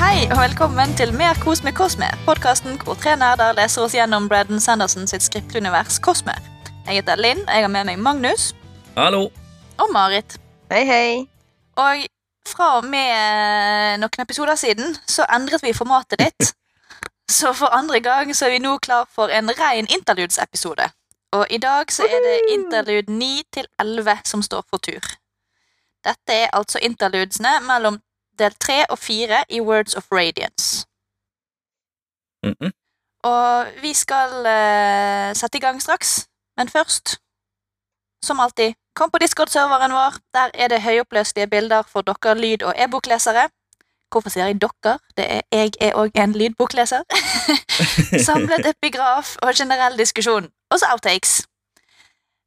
Hei og velkommen til Mer kos med Kosme, podkasten hvor tre nerder leser oss gjennom Braddon Sanderson sitt skriptunivers Kosme. Jeg heter Linn, og jeg har med meg Magnus Hallo. og Marit. Hei, hei. Og fra og med noen episoder siden så endret vi formatet ditt. Så for andre gang så er vi nå klar for en rein interludes-episode. Og i dag så er det interlude 9 til 11 som står for tur. Dette er altså interludesene mellom del 3 og 4 i Words of Radiance. Mhm. Og vi skal eh, sette i gang straks, men først, som alltid, kom på Discord-serveren vår. Der er det høyoppløselige bilder for dere lyd- og e-boklesere. Hvorfor sier jeg dere? Det er jeg er òg en lydbokleser. Samlet epigraf og generell diskusjon. Og så outtakes.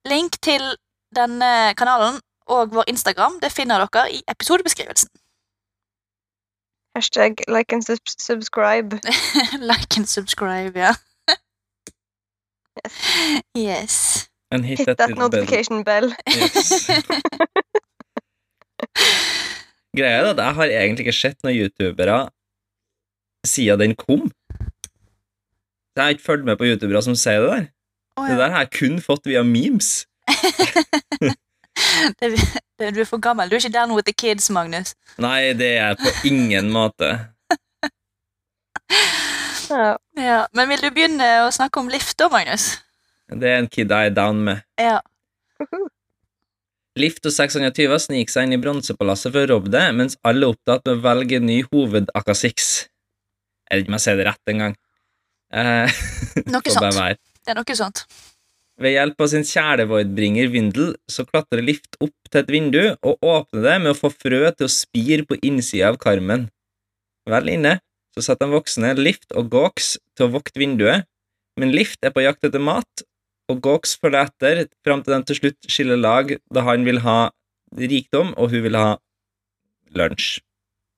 Link til denne kanalen og vår Instagram det finner dere i episodebeskrivelsen. Hashtag like and sub subscribe. like and subscribe, ja. yes. And hit, Hit that, that little bell. notification bell. Yes. Greia er at jeg har egentlig ikke sett noen youtubere siden den kom. Jeg har ikke fulgt med på youtubere som sier det der. Å, Det ja. der har jeg kun fått via memes. Du er for gammel. Du er ikke down with the kids, Magnus. Nei, det er jeg på ingen måte. Ja. Ja, Men vil du begynne å snakke om Lift da, Magnus? Det er en kid jeg er down med. Ja. Lift og 620 sniker seg inn i bronsepalasset for å robbe det, mens alle er opptatt med å velge ny hovedakasix. Jeg vet ikke om jeg sier det rett engang. Eh, Noe får bare sånt. være. Det er noe sånt. Ved hjelp av sin kjælevoidbringer Vindel så klatrer Lift opp til et vindu og åpner det med å få frø til å spire på innsida av karmen. Vel inne så setter den voksne Lift og Gawks til å vokte vinduet, men Lift er på jakt etter mat, og Gawks følger etter fram til de til slutt skiller lag da han vil ha rikdom og hun vil ha lunsj.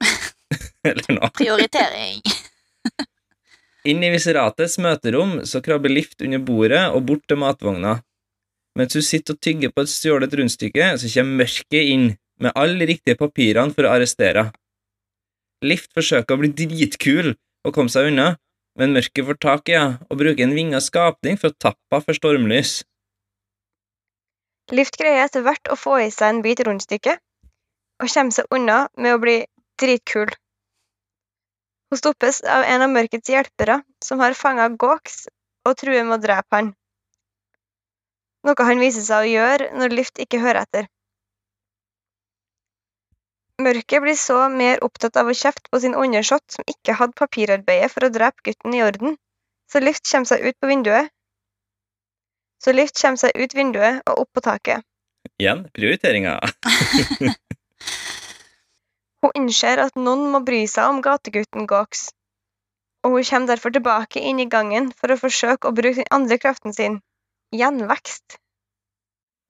Eller noe. Prioritering. Inn i Viseratets møterom så krabber Lift under bordet og bort til matvogna. Mens hun sitter og tygger på et stjålet rundstykke, så kommer Mørket inn med alle riktige papirene for å arrestere henne. Lift forsøker å bli dritkul og komme seg unna, men Mørket får tak i henne og bruker en vinga skapning for å tappe henne for stormlys. Lift greier etter hvert å få i seg en bit rundstykke, og kommer seg unna med å bli dritkul. Hun stoppes av en av mørkets hjelpere, som har fanget Gawks og truer med å drepe han. Noe han viser seg å gjøre når Lift ikke hører etter. Mørket blir så mer opptatt av å kjefte på sin undersått som ikke hadde papirarbeidet for å drepe gutten i orden, så Lift kommer seg ut på vinduet, så Lift kommer seg ut vinduet og opp på taket. Igjen prioriteringa. Hun innser at noen må bry seg om gategutten Gawks, og hun kommer derfor tilbake inn i gangen for å forsøke å bruke den andre kraften sin, gjenvekst.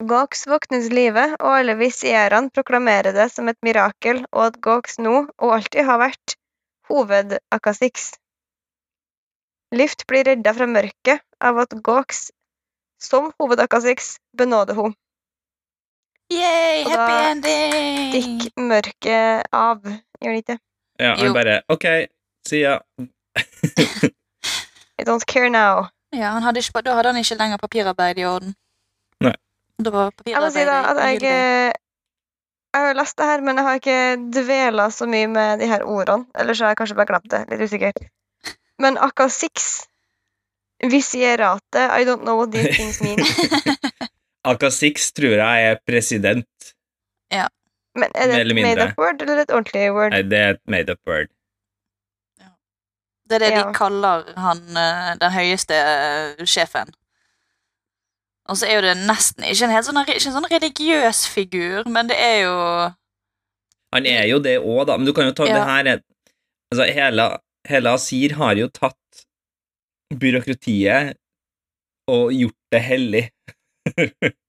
Gawks våknes til live, og alle visierene proklamerer det som et mirakel, og at Gawks nå, og alltid har vært, hovedakasix. Lift blir redda fra mørket av at Gawks, som hovedakasix, benåder henne. Yay, Og happy da ending! Stikk mørket av, gjør det ikke? Ja, Jo. han bare Ok, sier jeg. I don't care now. Ja, han hadde ikke, Da hadde han ikke lenger papirarbeid i orden. Nei. Da var Jeg må papirarbeidet si da at jeg ugyldig. eh, Jeg har lest det her, men jeg har ikke dvela så mye med de her ordene. Eller så har jeg kanskje bare glemt det. Litt usikker. Men akasix Visierate I don't know what these things mean. Akasix tror jeg er president. Men er det Mer eller et made mindre. up word eller et ordentlig word? Nei, det er et made up word. Det er det Ja. de kaller han eh, den høyeste eh, sjefen. Og så er jo det nesten ikke en helt sånn, ikke en sånn religiøs figur, men det er jo Han er jo det òg, da, men du kan jo ta Ja. det her er- altså, hele, hele Asir har jo tatt byråkratiet og gjort det hellig.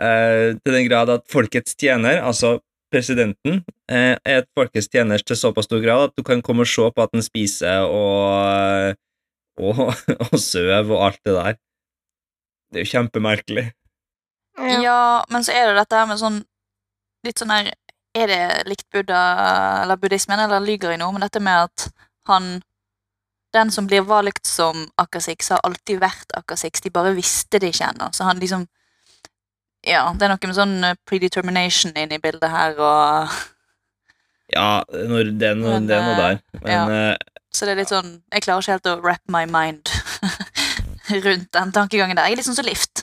Eh, til den grad at folkets tjener, altså presidenten, eh, er et folkets tjener til såpass stor grad at du kan komme og se på at den spiser og, eh, og, og søv og alt det der. Det er jo kjempemerkelig. ja. men så er det dette her med sånn litt sånn her Er det likt buddha, eller buddhismen, eller lyger i noe, men dette med at han Den som blir valgt som Akasix, har alltid vært Akasix. De bare visste det ikke ennå. Så han liksom Ja, det er noe med sånn eh, predetermination inne i bildet her, og Ja, når, det, er noe, Men, det er noe eh, der. Men eh, Så det er litt sånn Jeg klarer ikke helt å wrap my mind rundt den tankegangen der. Jeg er litt sånn som Lift.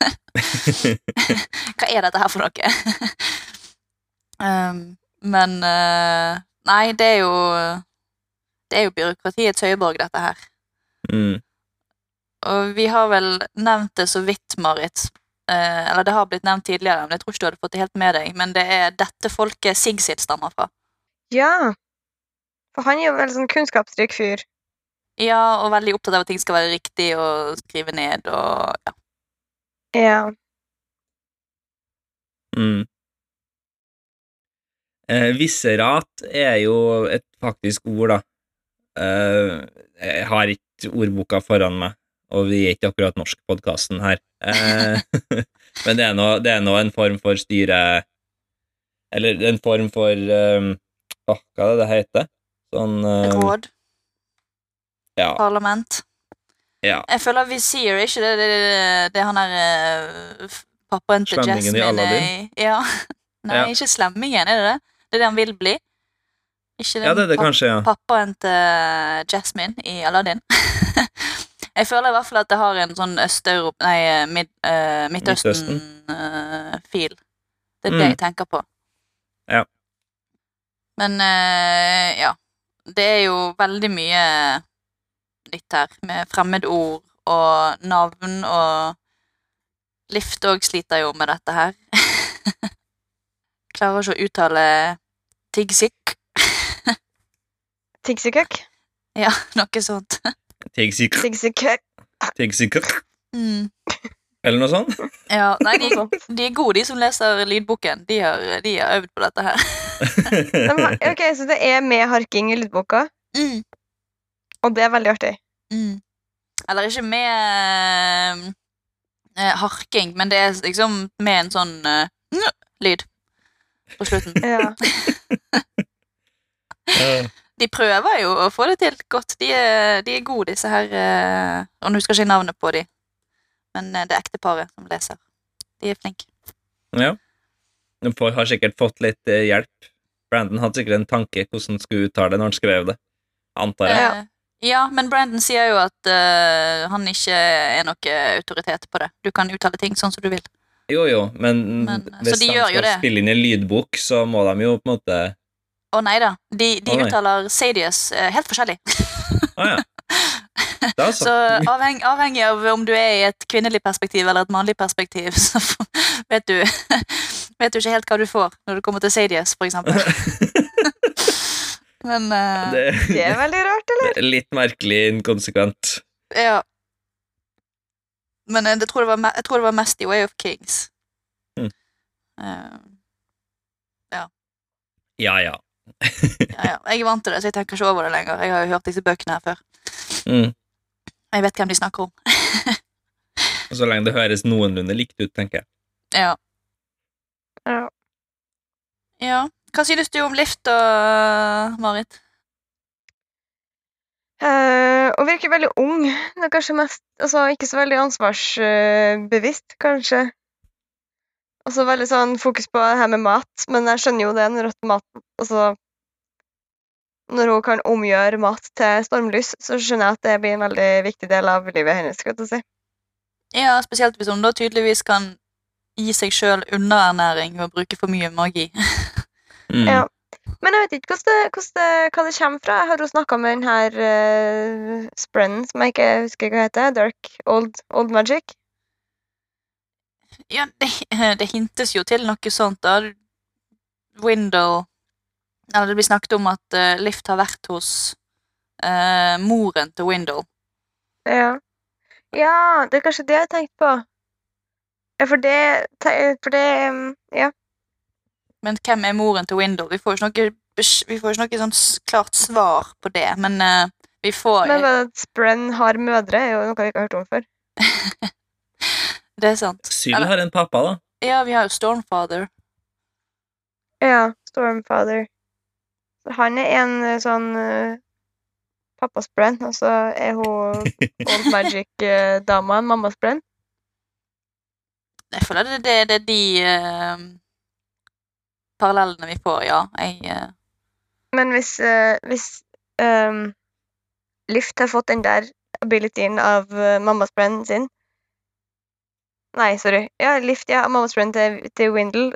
Hva er dette her for noe? um, men eh, Nei, det er jo Det er jo byråkratiets høyborg, dette her. mm, Og vi har vel nevnt det så vidt, Marit. Eh, eller det har blitt nevnt tidligere, men jeg tror ikke du hadde fått det helt med deg. Men det er dette folket Sigsid stammer fra. Ja. For han er jo veldig sånn kunnskapsrik fyr. Ja, og veldig opptatt av at ting skal være riktig og skrive ned og ja. Ja. mm. Eh, Visserat er jo et faktisk ord, da. Eh, jeg har ikke ordboka foran meg, og vi er ikke akkurat norskpodkasten her. Eh, men det er nå det er nå en form for styre Eller en form for eh, åh, Hva er det det heter? Sånn eh, Råd. Ja. Parlament. Ja. Jeg føler Visir, er ikke det det, det, det han er eh, f- pappaen til Slemmingen i Jasmine er Aladdin. i- Ja. Nei, Ja. ikke slemmingen, er det det? Det er det han vil bli? Ikke ja, det er det pap- kanskje, ja. pappaen til eh, Jasmine i Aladdin. jeg føler i hvert fall at det har en sånn Øst-Europ... Nei, mid, eh, Midtøsten. Midtøsten-fil. det er det Mm. jeg tenker på. Ja. Men eh, ja. Det er jo veldig mye nytt her, med fremmedord og navn og Lift òg sliter jo med dette her. Klarer ikke å uttale Tigsik, Tigsikøk. noe sånt. Tigsik- Tigsikøk. Tigsikak, Mm. eller noe sånt. Ja, nei, de, Noe sånt. de er gode, de som leser lydboken. De har, de har øvd på dette her. De har, ok, Så det er med harking i lydboka, Mm. og det er veldig artig. Mm. Eller ikke med eh, eh, harking, men det er liksom med en sånn eh, nj- lyd på slutten. Ja. Ja. De prøver jo å få det til godt. De er, de er gode, disse her eh, Og nå husker jeg ikke navnet på de, men eh, det er ekteparet som leser. De er flinke. ja. Men Folk har sikkert fått litt eh, hjelp. Brandon hadde sikkert en tanke hvordan han skulle uttale det når han skrev det. Antar jeg. Ja. Eh, ja, men Brandon sier jo at eh, han ikke er noe autoritet på det. Du kan uttale ting sånn som du vil. Jo, jo, men, Men- så hvis de de gjør jo skal det. spille inn en lydbok, så må de jo på en måte Å nei da, de, de Å, nei. uttaler Sadius eh, helt forskjellig. Å ja. Da så. Så avheng, avhengig av om du er i et kvinnelig perspektiv eller et mannlig perspektiv, så f- vet du, vet du ikke helt hva du får når du kommer til Sadius, for eksempel. Men eh, det, Det er veldig rart, eller? det er litt merkelig inkonsekvent. Ja. Men eh, det tror jeg, var, me- jeg tror det var mest i Way of Kings. Mm. Eh, Ja, ja. ja, ja. Jeg er vant til det, så jeg tenker ikke over det lenger. Jeg har jo hørt disse bøkene her før. Mm. Jeg vet hvem de snakker om. Og Så lenge det høres noenlunde likt ut, tenker jeg. Ja. Ja. Ja. Hva synes du om Lift og Marit? Eh, og virker veldig ung. Det er kanskje mest, altså Ikke så veldig ansvarsbevisst, kanskje. Altså veldig sånn fokus på det her med mat, men jeg skjønner jo det når at mat Altså Når hun kan omgjøre mat til stormlys, så skjønner jeg at det blir en veldig viktig del av livet hennes. skal jeg til å si. Ja, spesielt hvis hun da tydeligvis kan gi seg sjøl underernæring ved å bruke for mye magi. Mm. Ja. Men jeg vet ikke hvordan det, hvordan det, hva det kommer fra. Jeg har jo snakka med den her eh, sprennen som jeg ikke husker hva heter. Dirk Old, Old Magic. Ja, det, eh, det hintes jo til noe sånt da. Window Eller det blir snakket om at eh, Lift har vært hos eh, moren til Window. Ja. ja, det er kanskje det jeg har tenkt på. Ja, for det, te- for det um, Ja. Men hvem er moren til Window? Vi får jo ikke noe, besk- vi får jo ikke noe sånn s- klart svar på det, men eh, vi får Men bare at Sprenn har mødre, er jo noe vi ikke har hørt om før. Det er sant. Syl har en pappa, da. Ja, vi har jo Stormfather. Ja, Stormfather. Så Han er en eh, sånn eh, pappas brenn, og så er hun Old eh, Magic-dama en mammas brenn. Jeg føler det, det, det er de eh, parallellene vi får, ja. Jeg, eh, Men hvis, eh, hvis ehm, Lyft har fått den der abilityen av eh, mammas brenn sin Nei, sorry. Ja, Lyft, ja, mammas brenn til, til Windle.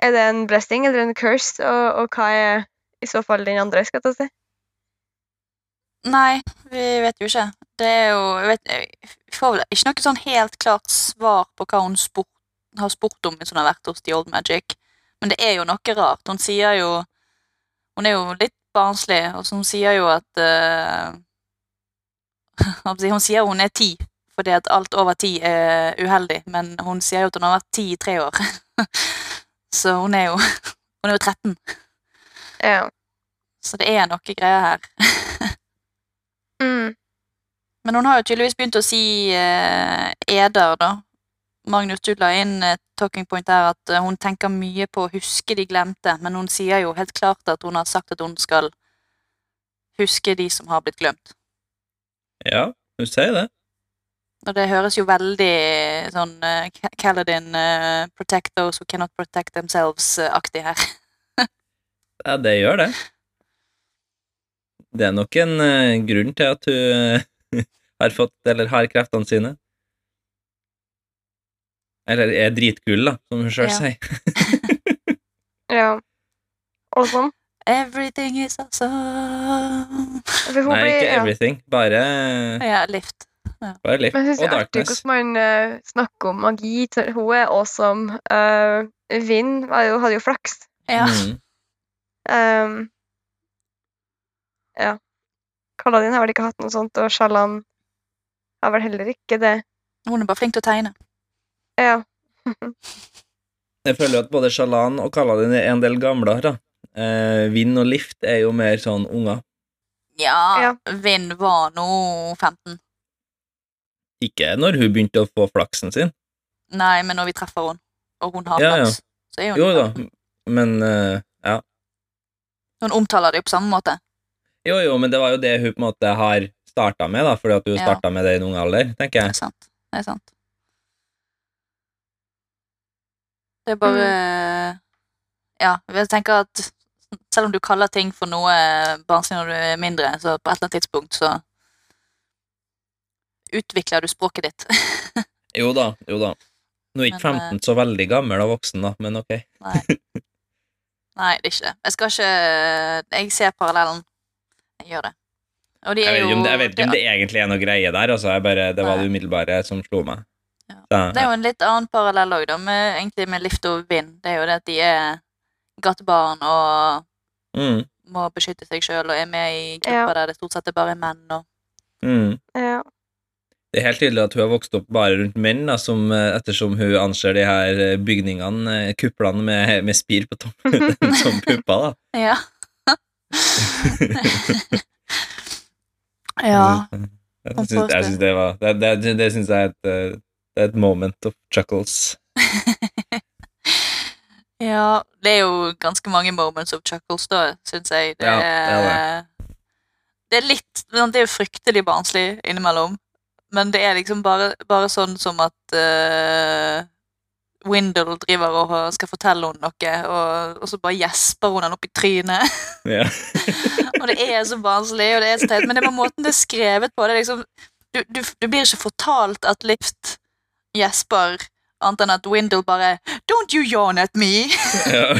Er det en blessing eller en curse, og, og hva er i så fall den andre, skal jeg ta og si? nei, vi vet jo ikke. Det er jo jeg vet, jeg får vel ikke noe sånn helt klart svar på hva hun spurt, har spurt om hvis hun har vært hos The Old Magic. Men det er jo noe rart. Hun sier jo Hun er jo litt barnslig, og så hun sier jo at eh, hva skal jeg si, Hun sier hun er ti, fordi at alt over ti er uheldig, men hun sier jo at hun har vært ti i tre år. Så hun er jo Hun er jo 13. Ja. Så det er noe greier her. Mm. Men hun har jo tydeligvis begynt å si eh, eder, da. Magnus, du la inn et talking point her at eh, hun tenker mye på å huske de glemte, men hun sier jo helt klart at hun har sagt at hun skal huske de som har blitt glemt. Ja, hun sier det. Og det høres jo veldig sånn eh, Ca- Kaladin eh, protect those who cannot protect themselves-aktig her. Ja, det gjør det. Det er nok en eh, grunn til at hun eh, har fått, eller har kreftene sine. Eller er dritkul, da, som hun sjøl Ja. sier. Ja. Og sånn. Everything is awesome. For hun Nei, blir- ikke ja. everything, bare, Ja, lift. bare litt. Men jeg synes Og det er artig darkness. hvordan man eh, snakker om magi. til- Hun er awesome. Uh, Vinn var jo- hadde jo flaks. Ja. Mm. Um, ja. Kaladin har vel ikke hatt noe sånt, og Shalan har vel heller ikke det. Hun er bare flink til å tegne. Ja. Jeg føler jo at både Shalan og Kaladin er en del gamlere, da. Eh, Vind og Lift er jo mer sånn unger. Ja, Ja. Vinn var nå 15. Ikke når hun begynte å få flaksen sin. Nei, men når vi treffer henne, og hun har Ja, ja. flaks, så er hun Jo da, 15. men eh, ja. Hun omtaler det jo på samme måte. Jo, jo, men det var jo det hun på en måte har starta med, da, fordi at hun Ja. starta med det i en ung alder, Det tenker jeg. er sant. Det er sant. Det er bare Mm. Ja, jeg tenker at selv om du kaller ting for noe barnslig når du er mindre, så på et eller annet tidspunkt så utvikler du språket ditt. Jo da, jo da. Nå er ikke Men, eh, 15 så veldig gammel og voksen, da, men ok. Nei. Nei, det er ikke det. Jeg skal ikke Jeg ser parallellen. Jeg gjør det. Og de Jeg er vet, jo ikke om det, jeg vet ikke om det egentlig er noe greie der, altså. Jeg bare, det var Nei. det umiddelbare som slo meg. Ja. Så, Det er jo en litt annen parallell òg, da, med, egentlig med Lift og Vind. Det er jo det at de er gatebarn og mm, må beskytte seg sjøl og er med i grupper der det stort sett er bare menn. Og, mm. ja. Det er helt tydelig at hun har vokst opp bare rundt menn, da, som, eh, ettersom hun anser de her eh, bygningene, eh, kuplene med, med spir på toppen, som pupper, da. ja. ja. Jeg Hun syns, jeg påstår. syns det var Det, det, det syns jeg er et, eh, det er et moment of chuckles. ja. Det er jo ganske mange moments of chuckles, da, syns jeg. Det er, Ja, det er det er litt Det er jo fryktelig barnslig innimellom, men det er liksom bare, bare sånn som at eh, Windle driver og skal fortelle henne noe, og, og så bare gjesper hun han opp i trynet. Ja. Og det er så barnslig, og det er så teit, men det var måten det er skrevet på. Det er liksom, du, du, du blir ikke fortalt at Lift gjesper, annet enn at Windle bare Don't you yawn at me! ja.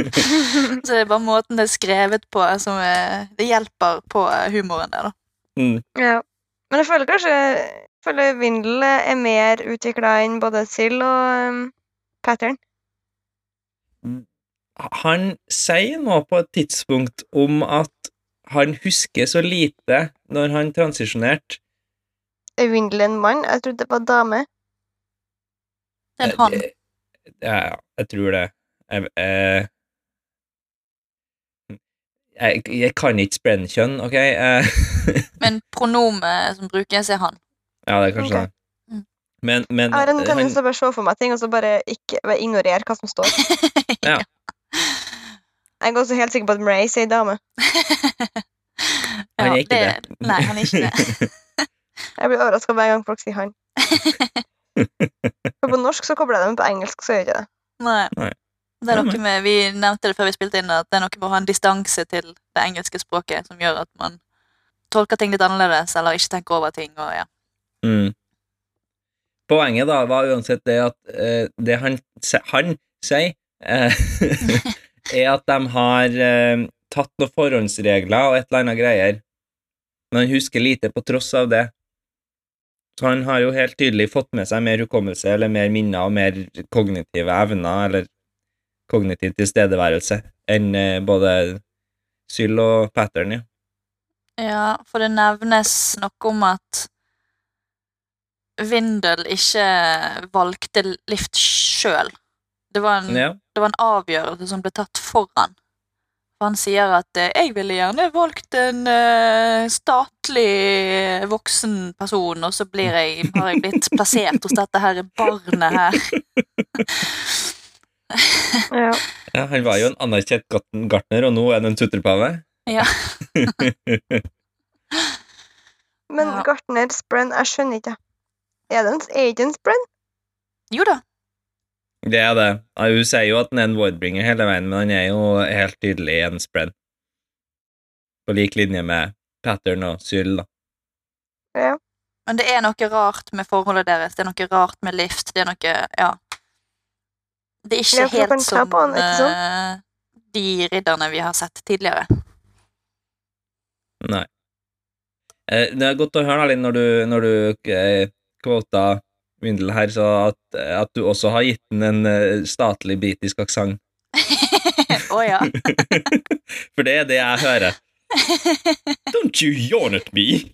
Så det er bare måten det er skrevet på, som eh, det hjelper på eh, humoren der, da. Mm. ja. Men jeg føler kanskje jeg føler Vindel er mer utvikla enn både Sild og um, Pattern. Han sier nå på et tidspunkt om at han husker så lite når han transisjonerte. Er Vindel en mann? Jeg trodde det var dame. Det er en han. Eh, Ja, ja, jeg tror det. Jeg, eh, jeg, jeg kan ikke sprennekjønn, ok? Eh, Men pronomet eh, som brukes, er han. Ja, det er kanskje Ok. det. Mm. Men, men Aren kan han, jo så bare se for meg ting, og så bare ikke, bare ignorere hva som står. Ja. Jeg er også helt sikker på at Mrace er ei dame. Han er ikke Nei, han er ikke det. Jeg blir overraska hver gang folk sier han. For på norsk så kobler jeg det, men på engelsk så gjør jeg ikke det. Nei. Nei. Det er Ja, noe med, vi nevnte det før vi spilte inn, at det er noe med å ha en distanse til det engelske språket som gjør at man tolker ting litt annerledes, eller ikke tenker over ting. Og, ja. Mm. Poenget da var uansett det at eh, det han, se- han sier, eh, er at de har eh, tatt noen forhåndsregler og et eller annet greier, men han husker lite på tross av det. Så han har jo helt tydelig fått med seg mer hukommelse eller mer minner og mer kognitive evner eller kognitiv tilstedeværelse enn eh, både Syl og Pattern, ja. ja, for det nevnes noe om at Vindel ikke valgte Lift sjøl. Det, var en- ja. det var en avgjørelse som ble tatt for han. For han sier at eh, 'jeg ville gjerne valgt en eh, statlig voksen person', og så blir jeg, har jeg blitt plassert hos dette her barnet her. Ja. Ja, han var jo en anerkjent gartn- gartner, og nå er han en tutterpave. Ja. Men Ja. gartner Sprenn, jeg skjønner ikke. Er det en er ikke en Sprenn? Jo da. det er det. Ja, Hun sier jo at han er en wardbringer hele veien, men han er jo helt tydelig en spread. På lik linje med Pattern og Syl, da. Men det er noe rart med forholdet deres. Det er noe rart med Lift. Det er noe Ja. Det er Ja, ikke for du kan helt ta som på han, ikke eh, de ridderne vi har sett tidligere. Nei. Eh, det er godt å høre, Erlend, når du, når du eh, kvota Vindel her, så at, at du også har gitt den en eh, statlig britisk aksent. Å ja. For det er det jeg hører. Don't you yawn at me!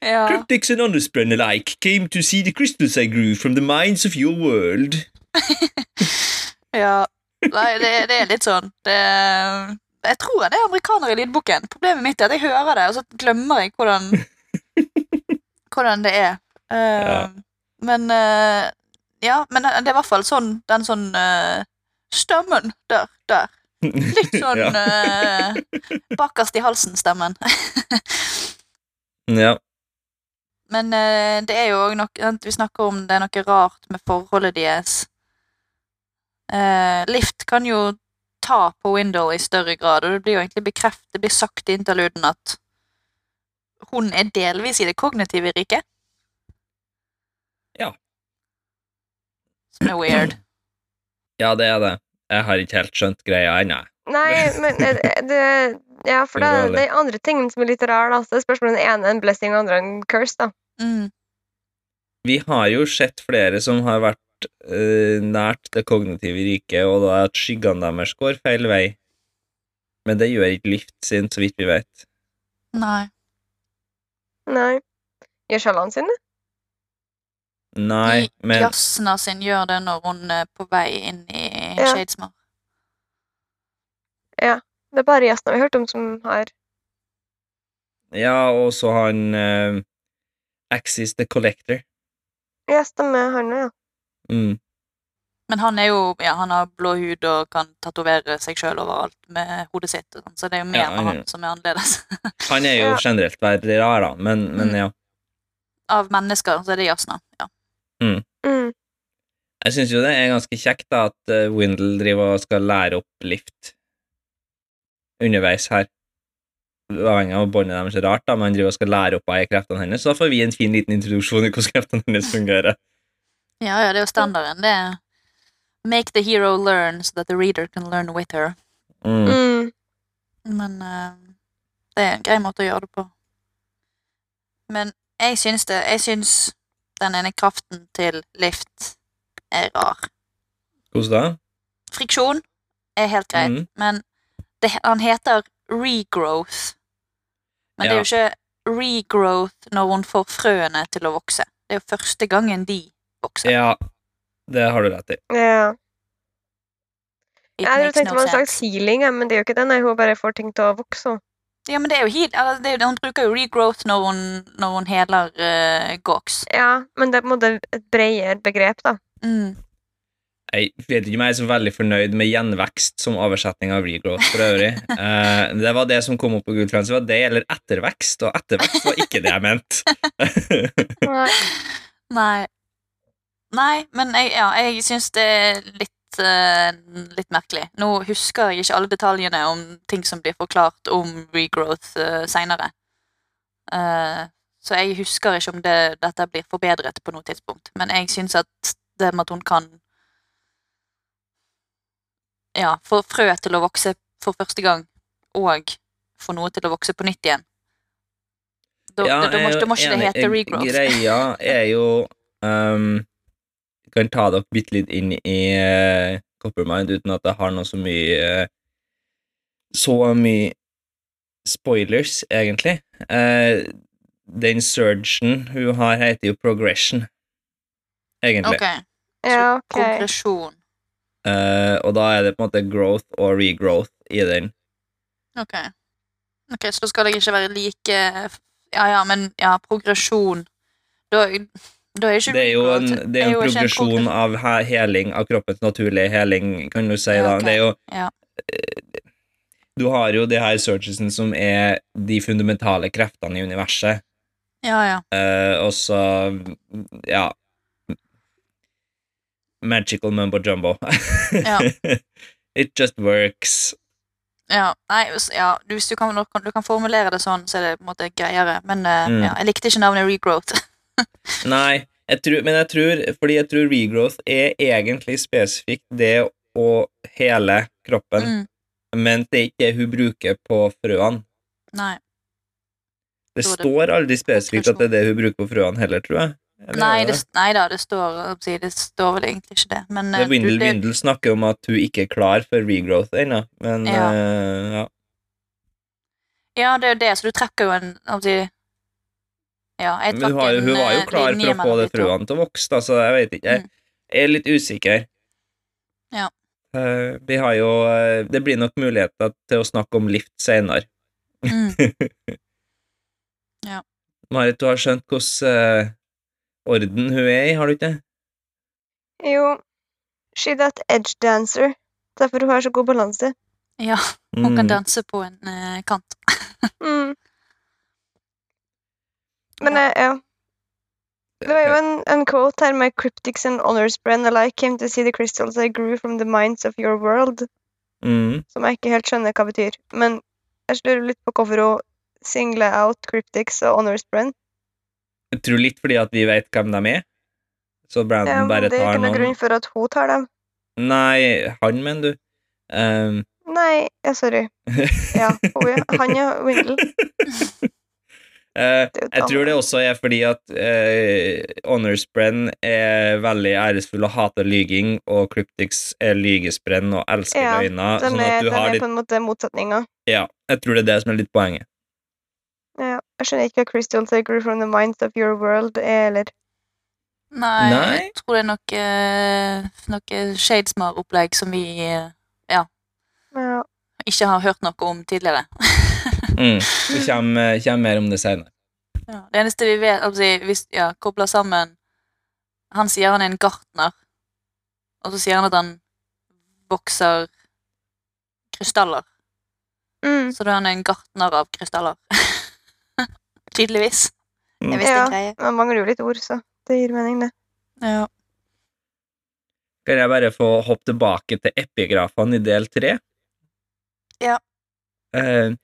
ja. Cryptics and underspren alike came to see the crystals I grew from the mines of your world. Ja. Nei, det, det er litt sånn det, Jeg tror det er amerikanere i lydboken. Problemet mitt er at jeg hører det, og så glemmer jeg hvordan Hvordan det er. Eh, Ja. Men eh, Ja, men det er i hvert fall sånn den sånn eh, Stemmen der, der. Litt sånn Ja. eh, bakerst i halsen-stemmen. Ja. Men eh, det er jo òg noe sant, Vi snakker om det er noe rart med forholdet deres. Eh, Lift kan jo ta på Window i større grad, og det blir jo egentlig bekreftet, det blir sagt i interluden at hun er delvis i det kognitive riket. Ja. Som er weird. ja, det er det. Jeg har ikke helt skjønt greia ennå. Nei, men er det, er det Ja, for Det det, er det er andre ting som er litt rar, da. Så det er spørsmålet om den ene er en blessing, og den andre er en curse, da. Mm. Vi har jo sett flere som har vært eh, nært det kognitive riket, og da at skyggene deres går feil vei. Men det gjør ikke Lyft sin, så vidt vi vet. Nei. Nei. Gjør sjalene sine? Mm, Nei, men Jasna sin gjør det når hun er på vei inn i Ja. Shadesmar. Det er bare gjestene vi har hørt om, som har Ja, og så han eh, Axis the Collector. gjester med han ja. Mm. Men han er jo, ja, han har blå hud og kan tatovere seg sjøl overalt med hodet sitt. Og sånn, så det er jo mer Ja, han med er- han som er annerledes. Han er jo Ja. generelt veldig rar, da, men, men Mm. ja. Av mennesker så er det Jasna. Ja. Mm. Jeg syns jo det er ganske kjekt da at eh, Windle driver og skal lære opp Lift underveis her. Avhengig av båndet deres er rart, da, men han driver og skal lære opp av kreftene hennes, så da får vi en fin liten introduksjon i hvordan kreftene hennes fungerer. ja, ja, det er jo standarden. Det er Make the hero learn so that the reader can learn with her. Mm. Mm. Men eh, det er en grei måte å gjøre det på. Men jeg syns det Jeg syns den ene kraften til Lift er rar. Hvordan da? Friksjon er helt greit, Mhm. men det, han heter regrowth. Men det er jo ikke regrowth når hun får frøene til å vokse. Det er jo første gangen de vokser. Ja, det har du rett i. Ja. It Jeg hadde makes tenkt det no var en slags sense. healing, ja, men det er jo ikke det. Nei, hun bare får ting til å vokse. hun. Ja, men det er jo heal, eller det er jo, Hun bruker jo regrowth når hun, når hun heler uh, Gox. Ja, men det er på en måte et bredere begrep, da. Mm. Jeg vet ikke om jeg er så veldig fornøyd med gjenvekst som oversetning av regrowth for øvrig. Eh, det var det som kom opp på Google Trends, var det eller ettervekst, og ettervekst var ikke det jeg mente. Nei. Nei. Nei, men jeg, ja, jeg syns det er litt, eh, litt merkelig. Nå husker jeg ikke alle detaljene om ting som blir forklart om regrowth uh, seinere. så jeg husker ikke om det, dette blir forbedret på noe tidspunkt. Men jeg syns at det med at hun kan Ja, få frø til å vokse for første gang, og få noe til å vokse på nytt igjen Da, Ja, da, da, må, jeg er da må jo ikke det enig. hete regrowth. Greia er jo ehm, Jeg kan ta dere bitte litt inn i eh, Coppermind uten at jeg har noe så mye eh, Så mye spoilers, egentlig. Eh, den surgen hun har, heter jo progression, egentlig. Ok, Ja, ok. Progresjon. Eh, og da er det på en måte growth og regrowth i den. Ok. Ok, Så skal jeg ikke være like Ja, ja, men ja, progresjon Da, da er ikke Det er jo en, regrowth- det er en jo ikke en progresjon av he- heling, av kroppens naturlige heling, kan du si. Ja, da. ok. Det er jo Ja. eh, Du har jo de her searchesene som er de fundamentale kreftene i universet, Ja, ja. eh, og så Ja. Magical mumbo jumbo. Ja. It just works. ja. Nei, hvis- ja, du- hvis du kan, når- du kan formulere det sånn, så er det på en måte greiere. Men eh, Mm. ja, jeg likte ikke navnet regrowth. Nei, jeg tror, men jeg tror Fordi jeg tror regrowth er egentlig spesifikt det å hele kroppen, Mm. men det er ikke det hun bruker på frøene. Nei. Det Så det- står aldri spesifikt at det er det hun bruker på frøene heller, tror jeg. Eller Nei, er det, nei da, det står, det står vel egentlig ikke det. Men, det eh, er du, Windle, det- Windle snakker om at hun ikke er klar for regrowth ennå, men Ja. eh, ja. Ja, det er jo det, så du trekker jo en hva skal jeg si, Ja, jeg Men trakk hun, har, en hun var jo eh, klar linje for å få mellom det de to. frøene til å vokse, da, så jeg vet ikke. Jeg Mm. er litt usikker. Ja. Eh, vi har jo eh, Det blir nok muligheter til å snakke om lift seinere. Mm. Marit, du har skjønt hvordan eh, orden hun er i, har du ikke det? Jo, she that edge dancer. Derfor hun har så god balanse. Ja, hun kan Mm. danse på en eh, kant. Mm. Men Ja. eh, ja. Det var jo en, en quote her med cryptics and honors brand alike came to see the crystals I grew from the minds of your world, Mm. som jeg ikke helt skjønner hva betyr. Men jeg lurer litt på hvorfor hun singler out cryptics og honors brand. Jeg tror litt fordi at vi vet hvem de er, så Ja, Brandon men bare det er tar ikke noen noen grunn for at hun tar dem. Nei, han, mener du? Ehm, Nei, ja, sorry. Ja, hun, ja. Han er Windle. eh, Det er jo jeg tror det også er fordi at eh, Honorsbrenn er veldig æresfull og hater lyging, og Cryptics er lygesbrenn og elsker Ja, løgner. De Sånn er, at de du har er litt på en måte motsetninger. Ja, jeg tror det er det som er litt poenget. Ja, jeg skjønner ikke hva Crystal Take Grew from the Minds of Your World er, eller Nei, Nei? jeg tror det er noe, eh, noe Shadesmar-opplegg som vi eh, ja. ikke har hørt noe om tidligere. Mm. Det kommer, kommer mer om det senere. Ja, det eneste vi vet, altså, hvis, ja, kobler sammen Han sier han er en gartner, og så sier han at han vokser krystaller. Mm. Så da er han en gartner av krystaller. Tydeligvis. Mm. Det er visst Ja. en greie. Man mangler jo litt ord, så det gir mening, det. Ja. Kan jeg bare få hoppe tilbake til epigrafene i del tre? Ja. Eh,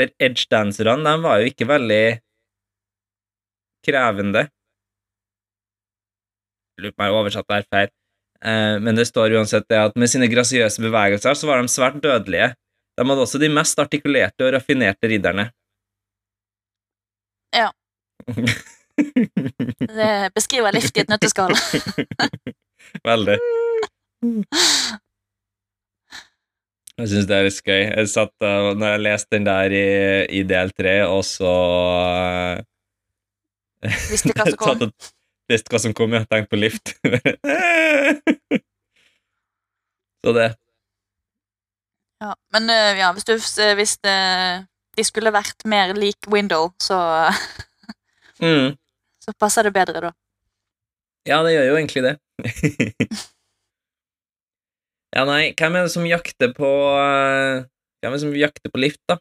for edgedanserne, de var jo ikke veldig krevende. Jeg Lurer på om jeg har oversatt det her feil. Eh, men det står uansett det at med sine grasiøse bevegelser så var de svært dødelige. De hadde også de mest artikulerte og raffinerte ridderne. Ja. Det beskriver lift i et nøtteskall. Veldig. Jeg syns det er litt skøy. Jeg satt, uh, når jeg leste den der i, i del tre, og så Visste hva som kom. Satt og- Visste hva som kom, ja. Tenkte på lift. så det. Ja, men eh, ja, hvis du hvis, eh, de skulle vært mer lik Window, så, Mm. så passer det bedre, da. Ja, det gjør jo egentlig det. ja, nei, hvem er det som jakter på eh, Hvem er det som jakter på lift, da?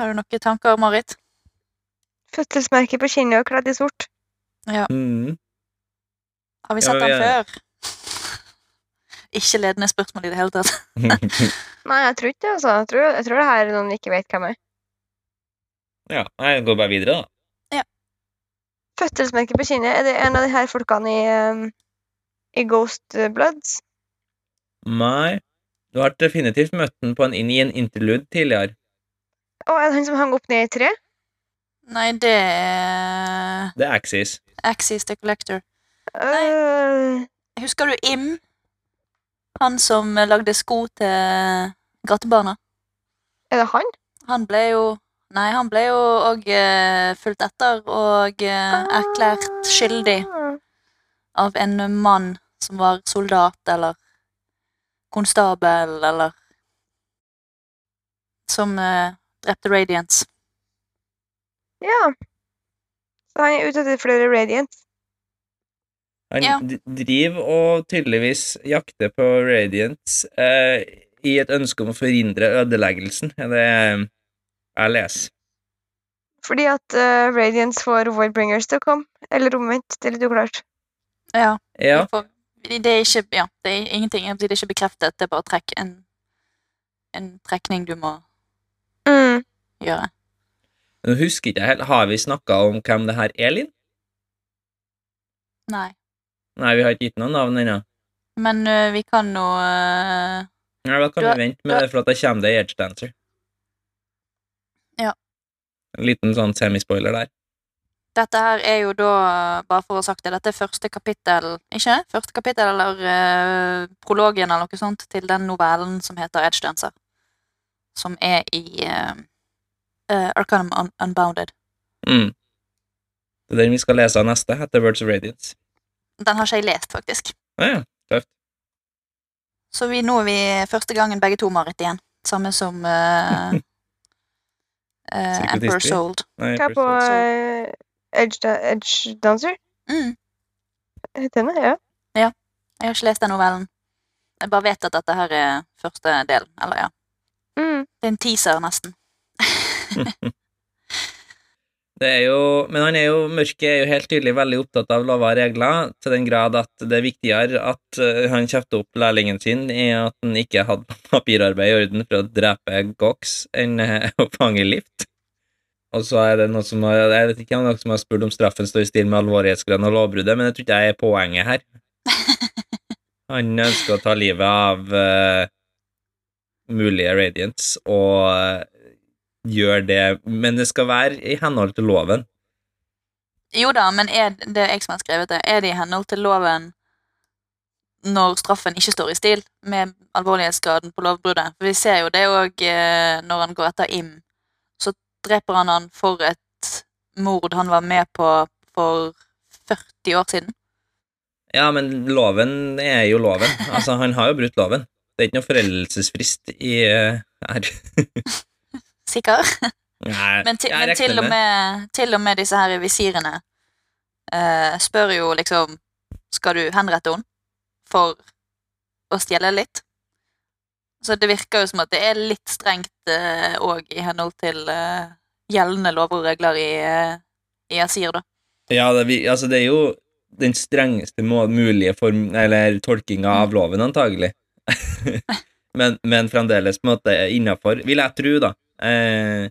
Har du noen tanker, Marit? Fødselsmerke på kinnet og kledd i sort. Mm. Har vi Ja, sett men den vi før? Ikke ledende spørsmål i det hele tatt. Nei, jeg tror ikke det, altså. Jeg tror, jeg tror det her er noen vi ikke vet hvem er. ja, nei, jeg går bare videre, da. Fødselsmerke på kinnet, er det en av de her folkene i, ehm, i Ghost Bloods? Nei. Du har definitivt møtt den på en inn i en interlude tidligere. Å, er det han som hang opp ned i tre? Nei, det er Det er Axis. Axis the Collector. Øh, Husker du Im? Han som eh, lagde sko til gatebarna? er det han? Han ble jo Nei, han ble jo òg eh, fulgt etter og eh, erklært skyldig Ah. av en mann som var soldat eller konstabel eller Som eh, drepte Radiance. Ja. Så han er ute etter flere Radiants. Han Ja. d- driver og tydeligvis jakter på Radiance eh, i et ønske om å forhindre ødeleggelsen. Er det eh, jeg leser? Fordi at eh, Radiance får Voidbringers til å komme. Eller omvendt, det er litt uklart. Ja. Ja. vi får- Det er ikke Ja, det er ingenting. jeg vil si Det er ikke bekreftet. Det er bare trekk en, en trekning du må Mm. gjøre. Nå husker ikke jeg helt. Har vi snakka om hvem det her er, Linn? Nei. Nei, vi har ikke gitt noe navn ennå. Men ø, vi kan nå eh, ø, Nei, Da kan Du har- vi vente med det, for at da kommer det i Edge Dancer. Ja. En liten sånn semispoiler der. Dette her er jo da, bare for å ha sagt det, dette er første kapittel, ikke? Første kapittel eller eh, prologen eller noe sånt til den novellen som heter Edge Dancer. Som er i uh, Arcanum Un Unbounded. Mm. Det er den vi skal lese av neste, etter Birds of Radiance. Den har ikke jeg lest, faktisk. Ah, ja. Så vi, nå er vi første gangen begge to, Marit, igjen. Samme som uh, Emperor Psychotistisk. Sold. Nei, Hva på forstått. eh, Edge, da Edge Dancer? Mm. Heter den det? Ja. Jeg har ikke lest den novellen. Jeg bare vet at dette her er første del. Eller ja, Mm. det er en teaser, nesten. Det er jo, men han er jo, mørket er jo helt tydelig veldig opptatt av lover og regler, til den grad at det er viktigere at eh, han kjefter opp lærlingen sin i at han ikke hadde papirarbeid i orden for å drepe Gox enn eh, å fange Lift. Og så er det noe som har, jeg vet ikke om det er noen som har spurt om straffen står i stil med alvorlighetsgraden og lovbruddet, men jeg tror ikke det er poenget her. Han ønsker å ta livet av eh, mulige Radiance og eh, gjør det, men det skal være i henhold til loven. Jo da, men er det er jeg som har skrevet det, er det i henhold til loven når straffen ikke står i stil med alvorlighetsgraden på lovbruddet? For vi ser jo det òg når han går etter Im. Så dreper han han for et mord han var med på for 40 år siden. Ja, men loven er jo loven. Altså, han har jo brutt loven. Det er ikke noe foreldelsesfrist i eh, her. Sikker? Nei, Men, til, jeg men til, regner og med med, til og med disse her visirene eh, spør jo liksom Skal du henrette henne for å stjele litt? Så det virker jo som at det er litt strengt òg i henhold til eh, gjeldende lover og regler i, eh, i Asir, da. Ja, det, er vi, altså, det er jo den strengeste må- mulige form, eller tolkinga av loven, antagelig. men, men fremdeles på en måte innafor, vil jeg tro, da. Eh,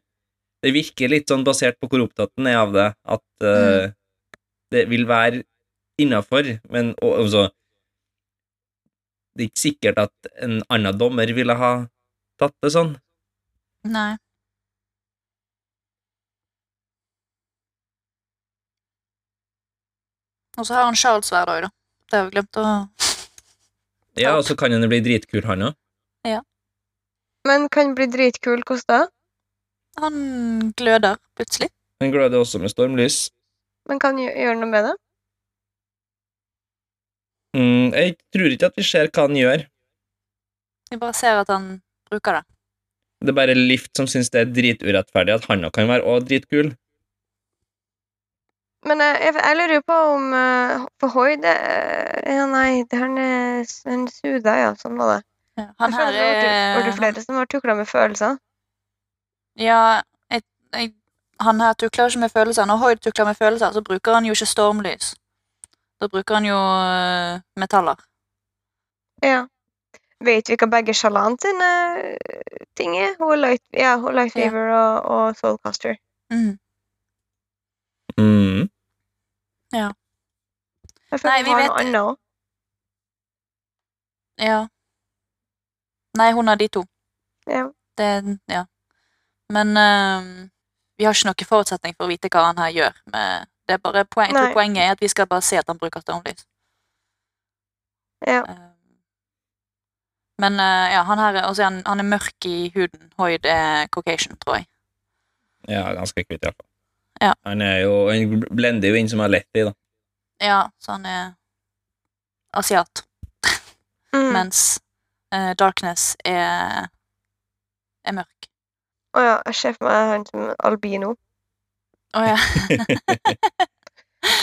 det virker litt sånn, basert på hvor opptatt den er av det, at eh, det vil være innafor, men og, altså Det er ikke sikkert at en annen dommer ville ha tatt det sånn. Nei. Og så har han Charles hver dag, da. Det har vi glemt å Ja, og så kan den jo bli dritkul, han òg. Men kan bli dritkul, hvordan da? Han gløder plutselig. Den gløder også med stormlys. Men kan gjø- gjøre noe med det? Mm, jeg tror ikke at vi ser hva han gjør. Vi bare ser at han bruker det. Det er bare Lift som syns det er driturettferdig at han òg kan være også dritkul. Men eh, jeg, jeg lurer jo på om eh, For Hoi, det eh, Ja, nei, det han er s- en suda, ja. Sånn var det. Ja, Han jeg føler her eh, det var tu- var det er flere som har tukla med følelser. Ja, jeg, jeg, han her tukler jo ikke med følelser. Når Hoyd tukler med følelser, så bruker han jo ikke stormlys. Da bruker han jo øh, metaller. Ja. Vet vi hva begge Shalan sine eh, ting er? Hun er Light, ja, hun er light Ja. Weaver og, og Soulcaster. Mm. Mm. Jeg Nei, føler vi hun har noe vet- annet òg. Ja. Nei, hun har de to. Ja. Det, ja. Men øh, vi har ikke noen forutsetning for å vite hva han her gjør. Men det er bare poen, jeg tror Nei. Poenget er at vi skal bare se at han bruker stormlys. Ja. Eh, Men eh, ja, han her er- altså, han, han er mørk i huden. Hoyd er caucasian, tror jeg. Ja, ganske kult, iallfall. Ja. Han er jo, han blender jo inn som Aletti, da. Ja, så han er asiat. Mm. Mens eh, darkness er, er mørk. Å ja, jeg ser for meg han som albino. Å ja.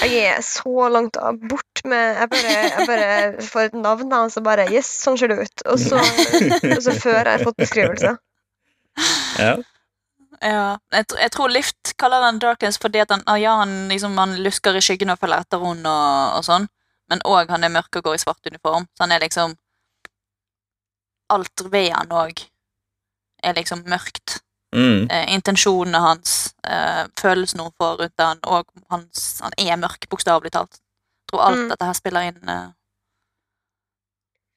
Jeg er så langt av- bort med Jeg bare, jeg bare får et navn, da, og så bare Yes, sånn ser det ut. Og så, og så før jeg har fått beskrivelser. Ja. ja. Jeg, tr- jeg tror Lift kaller han darkness fordi at han, ah, ja, han, liksom, han lusker i skyggen og følger etter henne og, og sånn. Men òg han er mørk og går i svart uniform. Så han er liksom Alt ved han òg er liksom mørkt. Mm. eh, intensjonene hans, eh, følelsene hun får rundt han, og hans, han er mørk, bokstavelig talt. Jeg tror alt Mm. dette her spiller inn. Eh,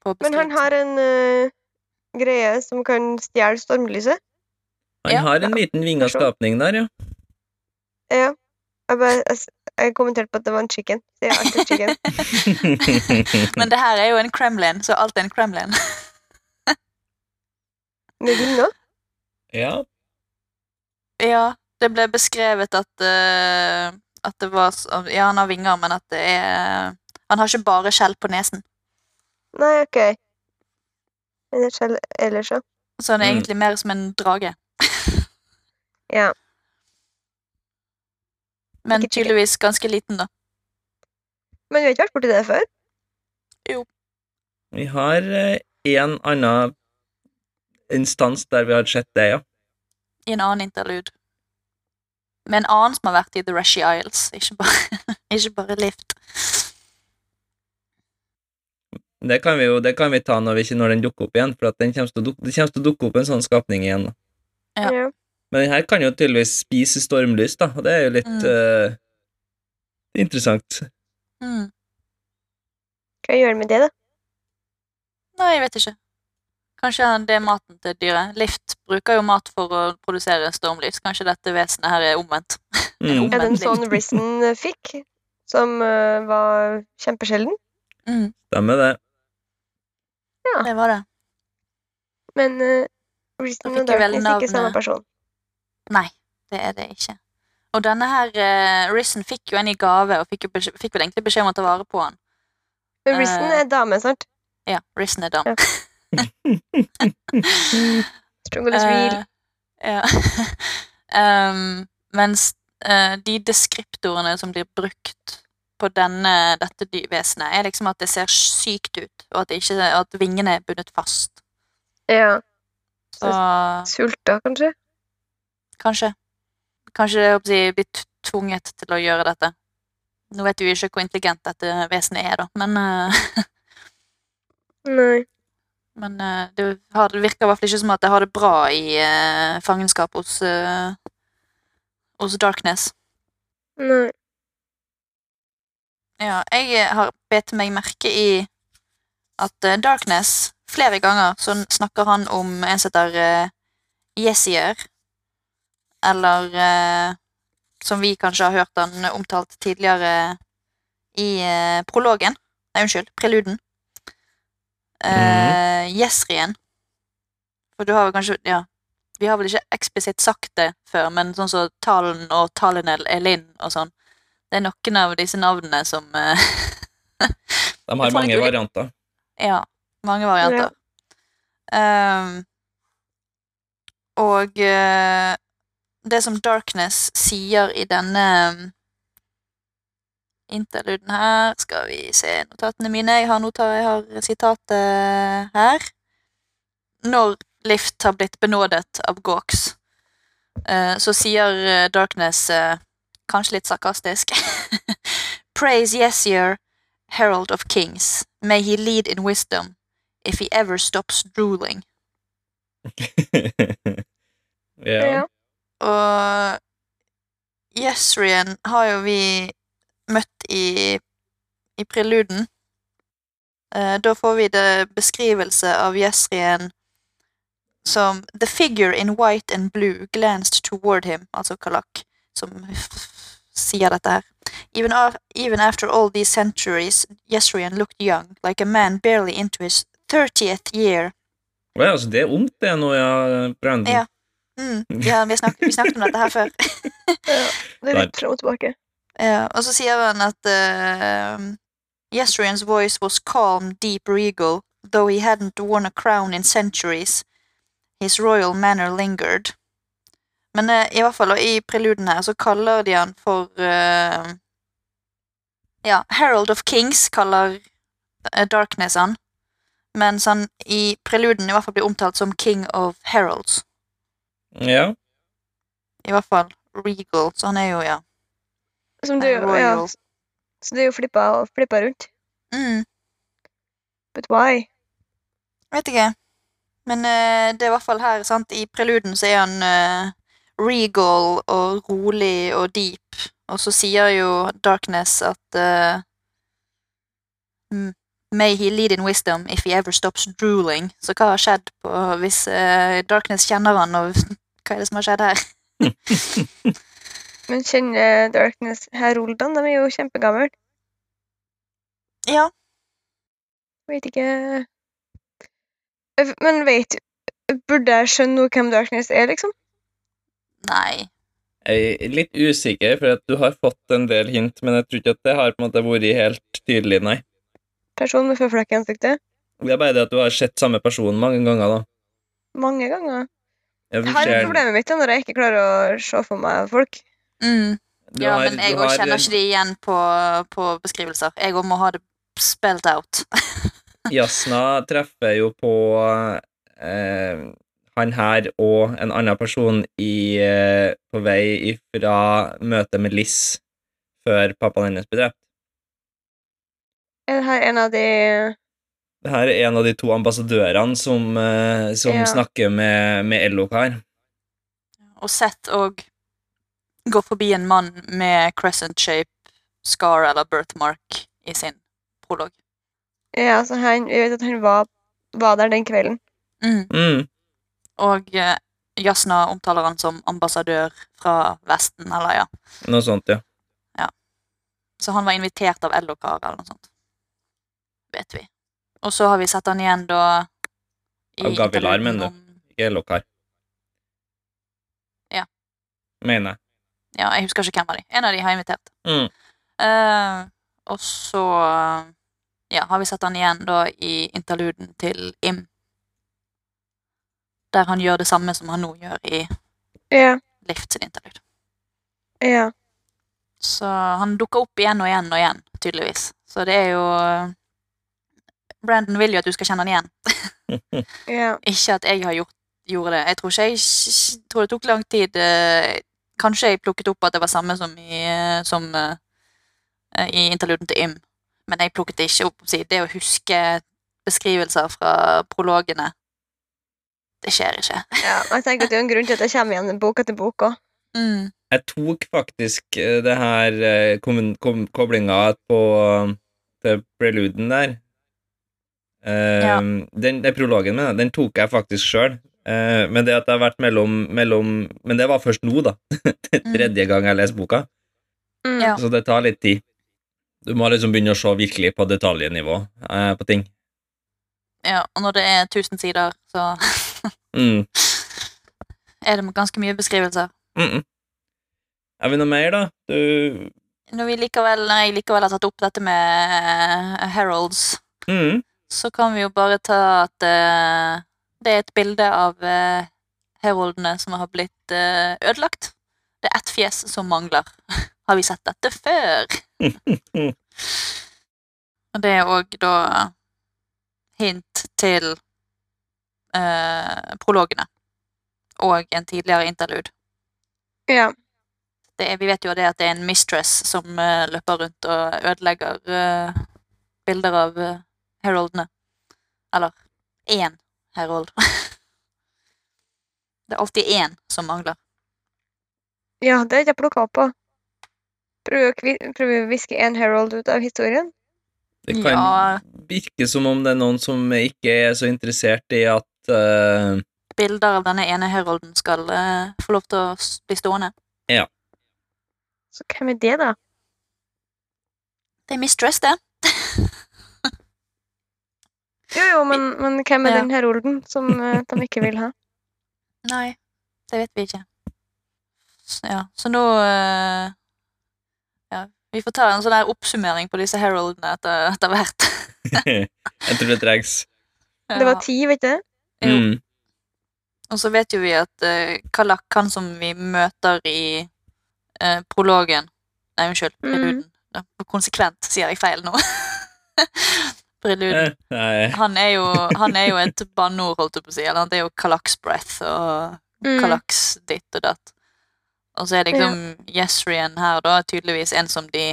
på Men beskrivelsen. han har en eh, greie som kan stjele stormlyset. Han Ja. har en liten vinga skapning der, ja. Ja. Jeg, bare, jeg, s- jeg kommenterte på at det var en chicken. Så jeg er alltid chicken. Men det her er jo en Kremlin, så alt er en Kremlin. Med vinger. ja. ja, det ble beskrevet at eh, at det var så, Ja, han har vinger, men at det er Han har ikke bare skjell på nesen. Nei, OK. Men det er skjell ellers òg. Så han er Mm. egentlig mer som en drage. Ja. Men Ikke chicken. tydeligvis ganske liten, da. Men vi har ikke vært borti det før. Vi har eh, en annen instans der vi har sett det, ja. i en annen interlude. Med en annen som har vært i The Rushy Isles, ikke bare, ikke bare Lift. Det kan vi jo det kan vi ta når, vi ikke, når den dukker opp igjen, for at den kommer til å duk- det kommer til å dukke opp en sånn skapning igjen. da. Ja. Ja. Men den her kan jo tydeligvis spise stormlys, da, og det er jo litt Mm. eh, interessant. Mm. Hva gjør han med det, da? Nei, jeg vet ikke. Kanskje det er maten til dyret. Lift bruker jo mat for å produsere stormlys. Kanskje dette vesenet her er omvendt. Mm. Er det en Omvendt sånn Risen eh, fikk, som eh, var kjempesjelden? Mm, Stemmer det. det var det. Men uh, Da Reason fikk og jeg vel Darkness er ikke samme navnet. person. Nei, det er det ikke. Og denne her, eh, Risen fikk jo en i gave, og fikk, jo beskjed, fikk vel egentlig beskjed om å ta vare på han. Men Reason Eh. er dame snart. Ja, Risen er dam. Ja. Struggle is real. Eh, ja. Ehm, mens eh, de deskriptorene som blir brukt på denne, dette dy- vesenet, er liksom at det ser sykt ut, og at, det ikke, at vingene er bundet fast. Ja. Så Sulta, kanskje? kanskje Kanskje det er å bli- bli t- tvunget til å gjøre dette. Nå vet vi jo ikke hvor intelligent dette vesenet er, da, men, eh, Nei. men eh, det, har, det virker i hvert fall ikke som at det har det bra i eh, fangenskap hos, eh, hos Darkness. Nei. Ja, jeg har bet meg merke i at eh, Darkness flere ganger så snakker han om en som heter eh, Jesier, eller eh, som vi kanskje har hørt han omtalt tidligere i eh, prologen, nei unnskyld, preluden. Eh, Jesrien. For du har jo kanskje, ja, vi har vel ikke eksplisitt sagt det før, men sånn som Talen og Talenel Elin og sånn, det er noen av disse navnene som eh, De Jeg har får litt mange uli- varianter. Ja, mange varianter. Ehm, Og eh, det som Darkness sier i denne mm, interluden her Skal vi se notatene mine. Jeg har, notat, jeg har sitatet her. Når Lift har blitt benådet av Gawks, eh, så sier eh, Darkness eh, kanskje litt sarkastisk Praise Yesier, Herald of Kings. May he lead in wisdom, if he ever stops drooling. ja. Og Yesrian har jo vi møtt i, i preluden. Eh, da får vi det beskrivelse av Yesrian som The figure in white and blue glanced toward him, altså Kalak, som sier dette her. Even, af- even after all these centuries, Yesrian looked young, like a man barely into his 30th year. Å ja, så altså, det er ungt, det nå, ja, Brandon. Ja. Mm, ja, vi, snak, vi snakket om dette her før. Det er litt fram og tilbake. Ja, og Eh, så sier han at uh, Yesrian's voice was calm, deep, regal, though he hadn't worn a crown in centuries. His royal manner lingered. Men eh, i hvert fall, og i preluden her, så kaller de han for eh, Ja, Herald of Kings kaller eh, Darkness han. Mens han i preluden i hvert fall blir omtalt som King of Heralds. Ja. I hvert fall regal, så han er jo, ja, Som du, er ja. royal. Så det er jo flippa, flippa rundt. Mm. But why? Vet ikke. Men eh, det er i hvert fall her, sant. I preluden så er han eh, regal og rolig og deep. Og så sier jo Darkness at eh, mm, May he lead in wisdom if he ever stops drooling. Så hva har skjedd på, hvis eh, Darkness kjenner han, og hva er det som har skjedd her? Men kjenner Darkness Heroldan? De er jo kjempegamle. Ja. Vet ikke Øv- Men vet Burde jeg skjønne noe hvem Darkness er, liksom? Nei. Jeg er litt usikker, for at du har fått en del hint, men jeg tror ikke at det har på en måte vært helt tydelig, nei. Person med føflekk i ansiktet? Det er bare det at du har sett samme person mange ganger, da. Mange ganger. Ja, du Jeg har ser- problemet mitt er når jeg ikke klarer å se for meg folk. Mm. du Ja, har- men jeg du òg har- kjenner ikke de igjen på, på beskrivelser. Jeg òg må ha det spelt out. Jasna treffer jo på eh, han her og en annen person i, eh, på vei fra møtet med Liss før pappaen hennes ble drept. Er det her en av de Det her er en av de to ambassadørene som, eh, som Ja. snakker med, med Ellok her. og sett og gå forbi en mann med crescent shape, scar eller birthmark i sin prolog. Ja, altså han Vi vet at han var, var der den kvelden. Mm. Mm. Og eh, Jasna omtaler han som ambassadør fra Vesten, eller ja. Noe sånt, ja. Så han var invitert av Ellokar eller noe sånt. Vet vi. Og så har vi sett han igjen da i Av Gavilar, intervjuen mener du? om- Ikke Ellok her. Ja. Mener jeg. Ja, jeg husker ikke hvem av de. En av de har jeg invitert. Mm. Eh, og så ja, har vi sett han igjen da i interluden til Im. Der han gjør det samme som han nå gjør i Ja. Lift sin interlude. Ja. Så han dukker opp igjen og igjen og igjen, tydeligvis. Så det er jo eh, Brandon vil jo at du skal kjenne han igjen. ja. Ikke at jeg har gjort, gjorde det. Jeg tror ikke jeg, jeg tror det tok lang tid. eh, Kanskje jeg plukket opp at det var samme som i, eh, som, eh, i interluden til Im. Men jeg plukket det ikke opp. si. Det å huske beskrivelser fra prologene, det skjer ikke. ja. men Jeg tenker at det er jo en grunn til at jeg kommer igjen bok etter bok òg. Mm. Jeg tok faktisk eh, det her eh, kommun- kom, koblinga på eh, til preluden der. Eh, Ja. den, den prologen min, den tok jeg faktisk sjøl. men det at det har vært mellom, mellom Men det var først nå, da. Mm. Tredje gang jeg leser boka. Mm. Ja. Så det tar litt tid. Du må liksom begynne å se virkelig på detaljnivå eh, på ting. Ja, og når det er 1000 sider, så Mm. er det ganske mye beskrivelser. Mm -mm. Er vi noe mer, da? Du Når, vi likevel, når jeg likevel har tatt opp dette med eh, Heralds, mm. så kan vi jo bare ta at eh, det er et bilde av uh, koboltheraldene som har blitt eh, ødelagt. Det er ett fjes som mangler. Har vi sett dette før? Og det er òg da hint til eh, prologene og en tidligere interlude. Ja. Det er, vi vet jo det at det er en mistress som eh, løper rundt og ødelegger eh, bilder av eh, heroldene. Eller én herold. det er alltid én som mangler. ja, det har ikke jeg plukka opp på. Prøver å kvi- prøver å viske en Herald ut av historien. Det kan Ja. virke som om det er noen som ikke er så interessert i at eh, Bilder av denne ene herolden skal eh, få lov til å s- bli stående. Så hvem er det, da? Det er mistress, det. Jo, jo, men, men hvem er Ja. den Herolden som eh, de ikke vil ha? Nei, det vet vi ikke. Så, ja, så nå eh, ja, Vi får ta en sånn her oppsummering på disse heroldene etter, etter hvert. Jeg tror det trengs. Det var ti, vet du. Ja, jo. Mm. Og så vet jo vi at eh, Kalak, han som vi møter i eh, prologen Nei, unnskyld. Preluden. Ja, konsekvent sier jeg feil nå. preluden. Eh, Nei. Han er, jo, han er jo et banneord, holdt jeg på å si. Eller det er jo Kalaks breath og Mm. Kalaks ditt og datt. Og så er det liksom Yesrian her, da, tydeligvis en som de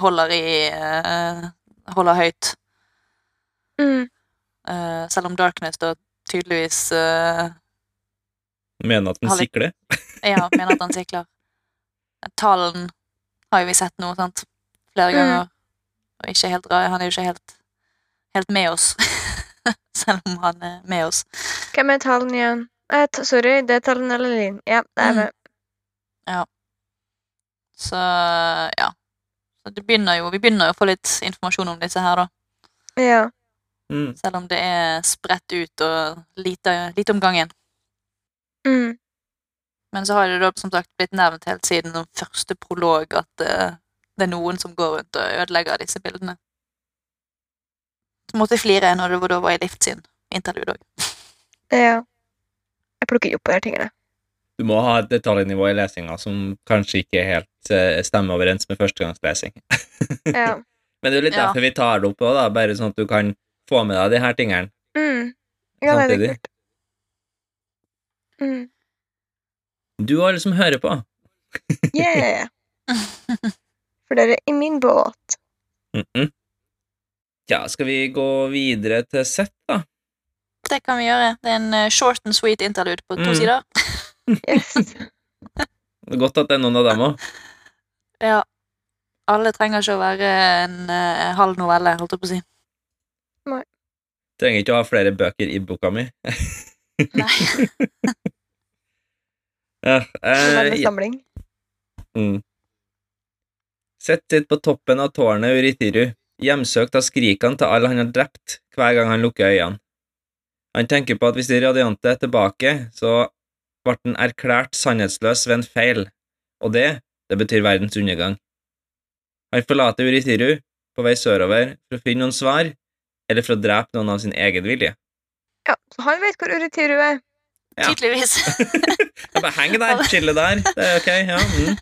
holder i eh, Holder høyt. Mm. Eh, selv om Darkness da tydeligvis eh, Mener at den Har litt- sikler? Ja, mener at han sikler. Talen har jo vi sett nå, sant? Flere Mm. ganger. Og ikke helt ra- Han er jo ikke helt, helt med oss. Selv om han er med oss. Hvem er tallen igjen? Eh, t sorry, det er tallen eller Linn. Ja, det er Mm. det. Så ja. Så det begynner jo, vi begynner jo å få litt informasjon om disse her, da. Ja. Mm. Selv om det er spredt ut og lite, lite om gangen. Mm. Men så har det da som sagt blitt nevnt helt siden den første prolog at eh, det er noen som går rundt og ødelegger disse bildene. Så måtte jeg flire når det var da var i Lift sin interlude òg. ja. Jeg plukker ikke opp på de her tingene. Du må ha et detaljnivå i lesinga som kanskje ikke helt eh, stemmer overens med førstegangslesing. Ja. Men det er jo litt Ja. derfor vi tar det opp òg, bare sånn at du kan få med deg de her tingene. Mm. Ja, det er litt Samtidig. kult. Mm. Du og alle som hører på. Yeah! For dere er i min båt. Mhm. Ja, skal vi gå videre til Seth, da? Det kan vi gjøre. Det er en eh, short and sweet interlude på to Mm. sider. Yes. Det er Godt at det er noen av dem òg. Ja. Alle trenger ikke å være en eh, halv novelle, holdt jeg på å si. Trenger ikke å ha flere bøker i boka mi. Nei. Ja, eh, ja. Novellesamling. Mm. Seth sitter på toppen av tårnet Uritiru, hjemsøkt av skrikene til alle han har drept hver gang han lukker øynene. Han tenker på at hvis de radiante er tilbake, så ble den erklært sannhetsløs ved en feil, og det, det betyr verdens undergang. Han forlater Uritiru på vei sørover for å finne noen svar, eller for å drepe noen av sin egen vilje. Ja, så han vet hvor Uritiru er. Ja. Tydeligvis. Jeg bare heng der, chille der, det er ok, ja. Mm.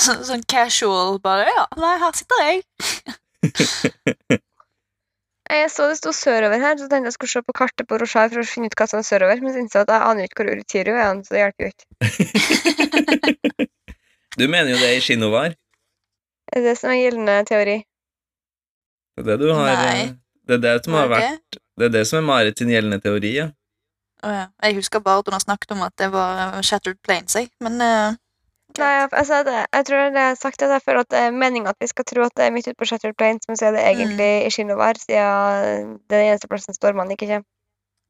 Så, sånn casual bare Ja, nei, her sitter jeg. Jeg så det sto sørover her, så tenkte jeg skulle se på kartet på Roshar for å finne ut hva som er sørover, men så innså jeg at jeg aner ikke hvor Uritiru er, så det hjelper jo ikke. Du mener jo det i Shinovar. Det er det som er gjeldende teori. Det er det du har Nei. eh, Det er det som har Var vært det? Det er det som er Marit sin gjeldende teori, ja. Å ja. Jeg husker bare at hun har snakket om at det var eh, Shattered Planes, jeg. Men eh, Nei, jeg, altså, det, jeg tror det er sagt at jeg føler at det er meningen at vi skal tro at det er midt ute på Shattered Plains, men så er det egentlig i Shinovar, siden det er den eneste plassen stormene ikke kommer.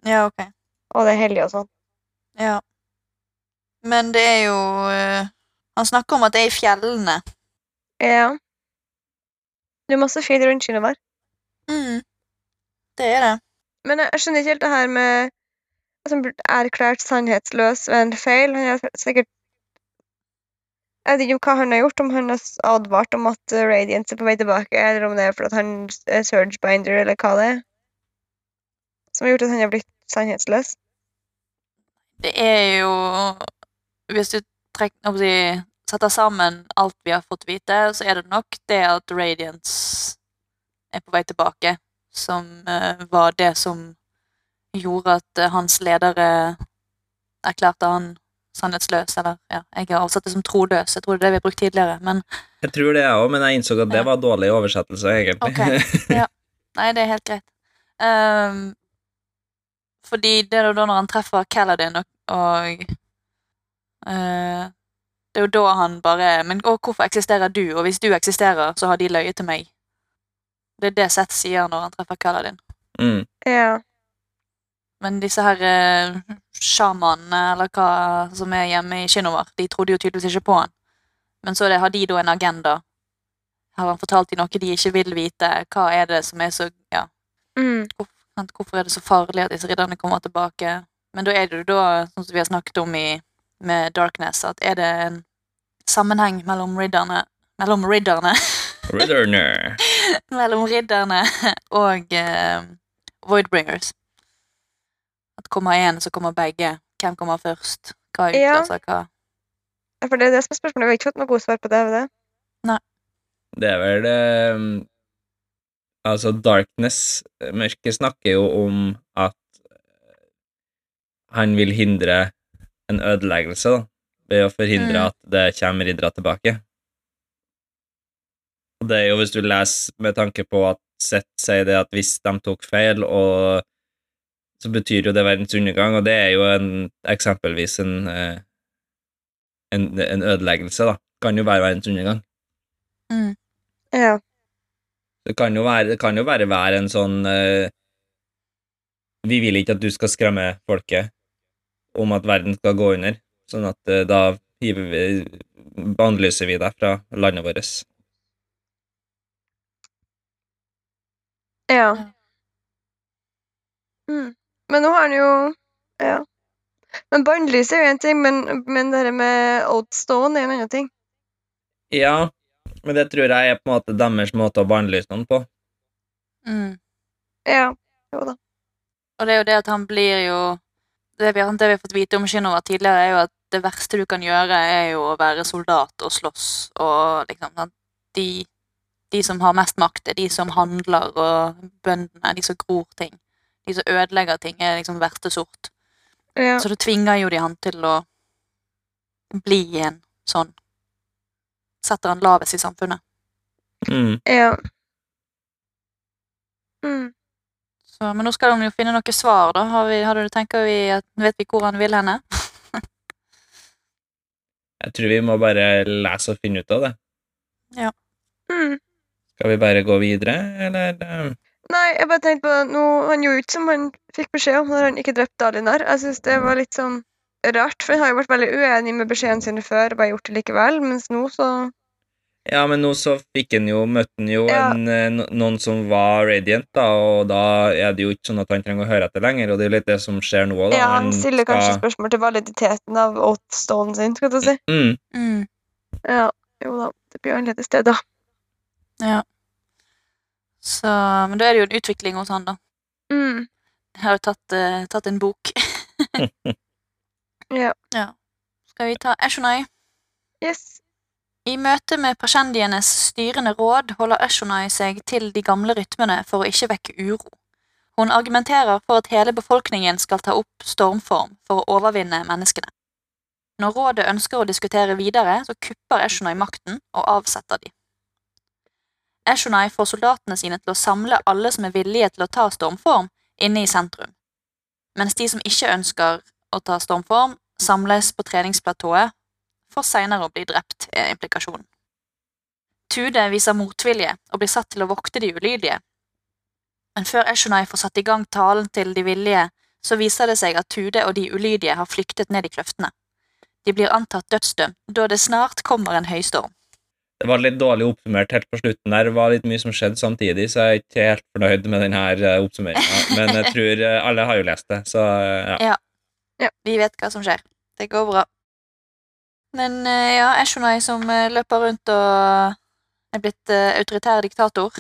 ja, ok. Og det er hellig og sånn. Ja. Men det er jo eh, Han snakker om at det er i fjellene. Ja. Det er masse fjell rundt Shinovar. Mm. Det er det. Men jeg jeg skjønner ikke helt det her med at han ble erklært sannhetsløs ved en feil. Han har sikkert Jeg vet ikke om hva han har gjort, om han har s- advart om at eh, Radiance er på vei tilbake, eller om det er fordi han s- er Surgebinder, eller hva det er, som har gjort at han har blitt sannhetsløs. Det er jo Hvis du trek, om å si, setter sammen alt vi har fått vite, så er det nok det at Radiance er på vei tilbake, som eh, var det som gjorde at eh, hans ledere erklærte han sannhetsløs, eller ja, jeg har oversatt det som troløs, jeg tror det er det vi har brukt tidligere, men Jeg tror det, jeg òg, men jeg innså at det Ja. var dårlig oversettelse, egentlig. Nei, det er helt greit. Ehm, fordi det er jo da når han treffer Kaladin og, og eh, Det er jo da han bare Men og hvorfor eksisterer du? Og hvis du eksisterer, så har de løyet til meg. Det er det Seth sier når han treffer Kaladin. mm. Ja. Men disse her eh, sjamanene eller hva som er hjemme i Shinnover, de trodde jo tydeligvis ikke på han. Men så er det, har de da en agenda? Har han fortalt dem noe de ikke vil vite? Hva er det som er så Ja. Mm. sant, hvorfor er det så farlig at disse ridderne kommer tilbake? Men da er det jo da, sånn som vi har snakket om i, med Darkness, at er det en sammenheng mellom ridderne Mellom ridderne Returner. Mellom ridderne og eh, Voidbringers. At kommer én, så kommer begge. Hvem kommer først? Hva Ja. utløser hva? For det er det som er spørsmålet. Vi har ikke fått noe godt svar på det. har vi det? Det er vel eh, Altså, Darkness, eh, mørket, snakker jo om at eh, han vil hindre en ødeleggelse, da, ved å forhindre Mm. at det kommer riddere tilbake. Og det er jo hvis du leser med tanke på at Seth sier det at hvis de tok feil, og så betyr jo det verdens undergang, og det er jo en, eksempelvis en, eh, en, en ødeleggelse, da. Kan jo være verdens undergang. Mm. Ja. Det kan jo være, det kan jo bare være en sånn eh, Vi vil ikke at du skal skremme folket om at verden skal gå under, sånn at eh, da hiver vi, bannlyser vi deg fra landet vårt. Ja. Ja. Mm. Men nå har han jo Ja. Men bannlyset er jo én ting, men, men det her med Old Stone er en annen ting. Ja, men det tror jeg er på en måte deres måte å bannlyse noen på. Mm. Ja. Jo da. Og det er jo det at han blir jo Det vi, det vi har fått vite om Shinova tidligere, er jo at det verste du kan gjøre, er jo å være soldat og slåss og liksom sant? De, de som har mest makt, er de som handler, og bøndene, de som gror ting. De som ødelegger ting, er liksom verste sort. Ja. Så du tvinger jo de han til å bli en sånn Setter han lavest i samfunnet. Mm. ja. Mm. Så, men nå skal han jo finne noe svar, da. Har vi, har du, tenker vi at, vet vi hvor han vil henne? Jeg tror vi må bare lese og finne ut av det. Mm. Skal vi bare gå videre, eller? eh? Nei, jeg bare tenkte på nå, Han gjorde jo ikke som han fikk beskjed om når han ikke drepte Dalinar. Jeg synes det var litt sånn rart, for han har jo vært veldig uenig med beskjedene sine før og bare gjort det likevel, mens nå så Ja, men nå så fikk han jo, møtte han jo Ja. en, eh, no- noen som var radiant, da, og da er det jo ikke sånn at han trenger å høre etter lenger, og det er jo litt det som skjer nå òg, da. Ja, han stiller kanskje skal- spørsmål til validiteten av Oathstone sin, skal du si. mm, Mm. Ja, jo da. Det blir jo annerledes, det, da. Så, men da er det jo en utvikling hos han, da. Mm. Jeg har jo tatt, eh, tatt en bok. Ja. Skal vi ta Eshonai? Yes. I møte med persjendienes styrende råd holder Eshonai seg til de gamle rytmene for å ikke vekke uro. Hun argumenterer for at hele befolkningen skal ta opp stormform for å overvinne menneskene. Når rådet ønsker å diskutere videre, så kupper Eshonai makten og avsetter de. Eshonai får soldatene sine til å samle alle som er villige til å ta stormform, inne i sentrum. Mens de som ikke ønsker å ta stormform, samles på treningsplatået for senere å bli drept, er implikasjonen. Tude viser motvilje og blir satt til å vokte de ulydige. Men før Eshonai får satt i gang talen til de villige, så viser det seg at Tude og de ulydige har flyktet ned i kløftene. De blir antatt dødsdømt da det snart kommer en høystorm. det var litt dårlig oppsummert helt på slutten der, det var litt mye som skjedde samtidig, så jeg er ikke helt fornøyd med denne oppsummeringa, men jeg tror eh, alle har jo lest det, så eh, ja. Vi vet hva som skjer. Det går bra. Men eh, ja, Eshonai som eh, løper rundt og er blitt eh, autoritær diktator.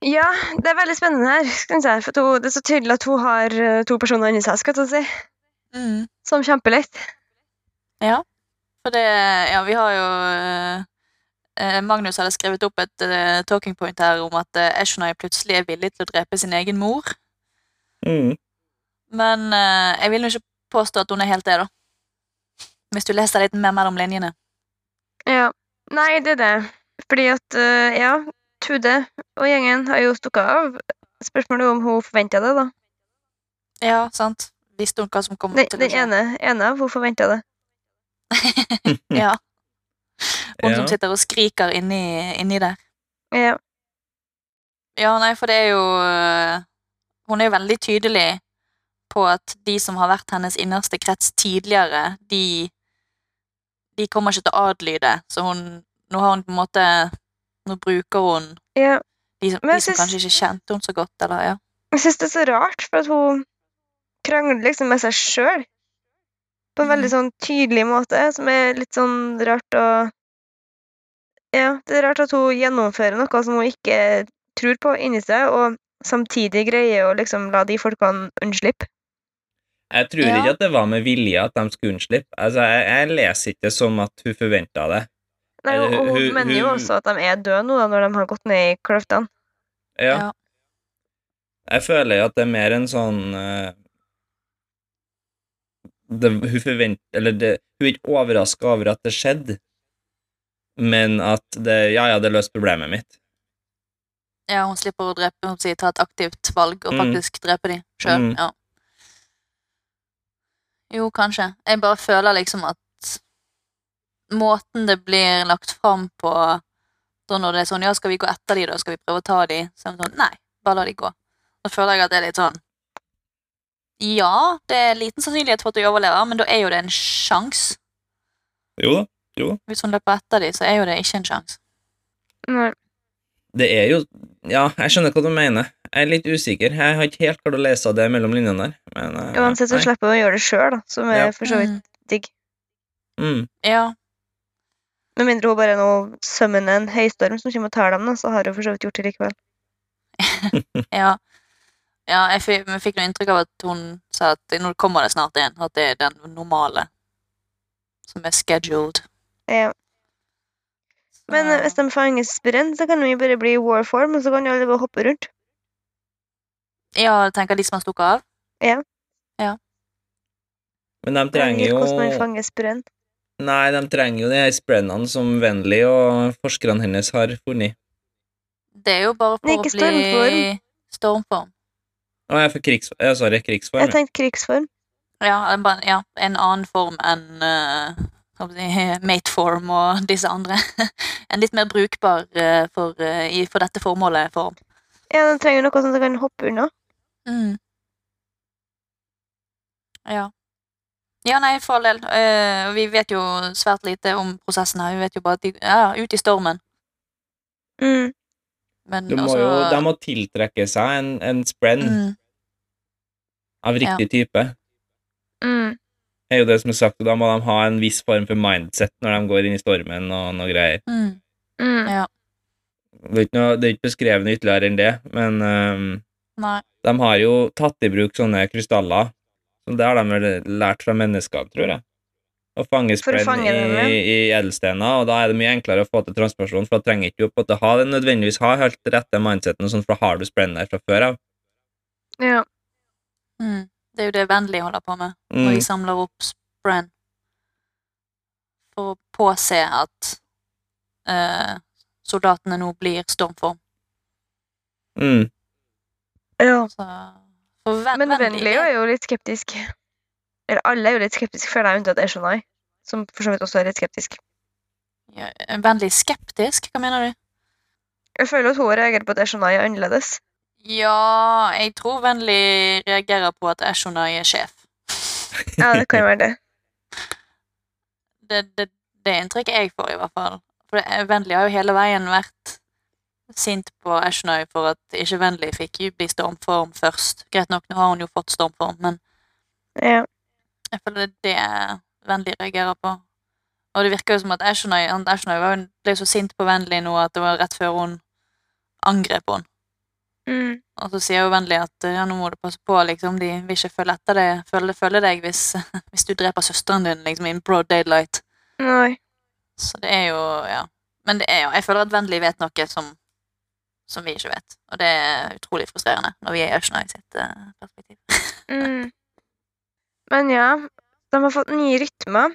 Ja, det er veldig spennende her, skal vi si. For at hun- det er så tydelig at hun har eh, to personer inni seg, skal vi si. Mm. som kjempelett. For det Ja, vi har jo eh, eh, Magnus hadde skrevet opp et eh, talking point her om at eh, Eshonai plutselig er villig til å drepe sin egen mor. Mm. Men eh, jeg vil jo ikke påstå at hun er helt det, da. Hvis du leser litt mer mellom linjene. Ja. Nei, det er det. Fordi at, eh, ja, Tude og gjengen har jo stukket av. Spørsmålet er om hun forventa det, da. Ja, sant? Visste hun hva som kom Den, til å den skje? ene, ene av hun forventa det. Ja, hun Ja. som sitter og skriker inni, inni der. Ja. Ja, nei, for det er jo øh, Hun er jo veldig tydelig på at de som har vært hennes innerste krets tidligere, de De kommer ikke til å adlyde, så hun Nå har hun på en måte Nå bruker hun ja. de som, de Men jeg som synes- kanskje ikke kjente hun så godt, eller ja. Jeg syns det er så rart, for at hun krangler liksom med seg sjøl på Mm. en veldig sånn tydelig måte, som er litt sånn rart å Ja, det er rart at hun gjennomfører noe som hun ikke tror på inni seg, og samtidig greier å liksom la de folkene unnslippe. Jeg tror Ja. ikke at det var med vilje at de skulle unnslippe. Altså, jeg, jeg leser ikke det som at hun forventa det. Nei, og, Eller og hun hun- mener jo hun- også at de er døde nå, da, når de har gått ned i kløftene. Ja. Ja. Jeg føler jo at det er mer en sånn eh, det, Hun forventer Eller det, hun er ikke overraska over at det skjedde, men at det Ja, ja, det løste problemet mitt. ja, hun slipper å drepe, hun sier ta et aktivt valg og Mm. faktisk drepe de sjøl. Mm. Ja. Jo, kanskje. Jeg bare føler liksom at måten det blir lagt fram på da når det er sånn Ja, skal vi gå etter de da? Skal vi prøve å ta de? Så er det sånn Nei, bare la de gå. Da føler jeg at det er litt sånn Ja, det er liten sannsynlighet for at de overlever, men da er jo det en sjanse. Jo da. Hvis hun løper etter de, så er jo det ikke en sjanse. Nei. Det er jo Ja, jeg skjønner hva du mener. Jeg er litt usikker. Jeg har ikke helt klart å lese det mellom linjene der. Men, eh, Uansett så nei. slipper hun å gjøre det sjøl, da, som er Ja. for så vidt Mm, digg. mm. ja. Med mindre hun bare nå sømmer en høystorm som kommer og tar dem, da, så har hun for så vidt gjort det likevel. Ja, ja jeg fikk, men jeg fikk noe inntrykk av at hun sa at nå kommer det snart igjen, at det er den normale som er scheduled. Ja. Så- Men eh, hvis de fanger sprint, så kan de jo bare bli i warform, og så kan de alle bare hoppe rundt. Ja, jeg tenker de som har stukket av. men de trenger Jeg vet ikke Hvordan man jo fanger sprint. Nei, de trenger jo de her sprennene som Wenley og forskerne hennes har funnet. Det er jo bare for Nei, å ikke bli stormform. Å, jeg får krigs... Ja, sorry, krigsform. Jeg ja. tenkte krigsform. Ja, en, ba- ja, en annen form enn eh, hva skal jeg si, mateform og disse andre. en litt mer brukbar eh, for, eh, i- for dette formålet form. Ja, de trenger noe som de kan hoppe unna. Mm. Ja. Ja, nei, for all del. Eh, vi vet jo svært lite om prosessen her. Vi vet jo bare at de ja, ja, ut i stormen. Mm. altså Men altså, Du må også- jo, de må tiltrekke seg en, en sprenn mm, av riktig type. Mm. Det er jo det som er sagt, og da må de ha en viss form for mindset når de går inn i stormen og noe greier. mm. Mm. Ja. Det er ikke, noe, det er ikke beskrevet noe ytterligere enn det, men ehm, Nei. de har jo tatt i bruk sånne krystaller. Så det har de vel lært fra mennesker, tror jeg. Å fange For å sprenn fange i, dem, ja. i edelstener, og da er det mye enklere å få til transperson, for da trenger ikke du på en måte ha den nødvendigvis ha helt rette mindseten, og sånt, for da har du sprenn der fra før av. Ja. Mm. Det er jo det Vennlig holder på med, når Mm. de samler opp sprenn. For å påse at eh, soldatene nå blir stormform. Mm. ja. Så, for Ven- Men Vennlig Vennlig er jo litt skeptisk. Eller alle er jo litt skeptiske, for det er jo unntatt Eshonai, som for så vidt også er litt skeptisk. ja, Vennlig skeptisk? Hva mener du? Jeg føler at hun reagerer på at Eshonai er annerledes. Ja, jeg tror Vennlig reagerer på at Eshonai er sjef. Ja, det kan jo være det. Det, det, det er inntrykket jeg får, i hvert fall. For det- Vennlig har jo hele veien vært sint på Eshonai for at ikke Vennlig fikk jo bli stormform først. Greit nok, nå har hun jo fått stormform, men Ja. jeg føler det er det Vennlig reagerer på. Og det virker jo som at Eshonai han- Eshonai var jo- ble så sint på Vennlig nå at det var rett før hun angrep henne. Mm. Og så sier hun vennlig at eh, ja, nå må du passe på, liksom, de vil ikke følge etter deg, følge, følge deg hvis, hvis du dreper søsteren din liksom, in broad daylight. Nei. Så det er jo Ja. Men det er jo, jeg føler at Vennlig vet noe som, som vi ikke vet. Og det er utrolig frustrerende når vi er i Ashna i sitt eh, perspektiv. Mm. Men ja, de har fått nye rytmer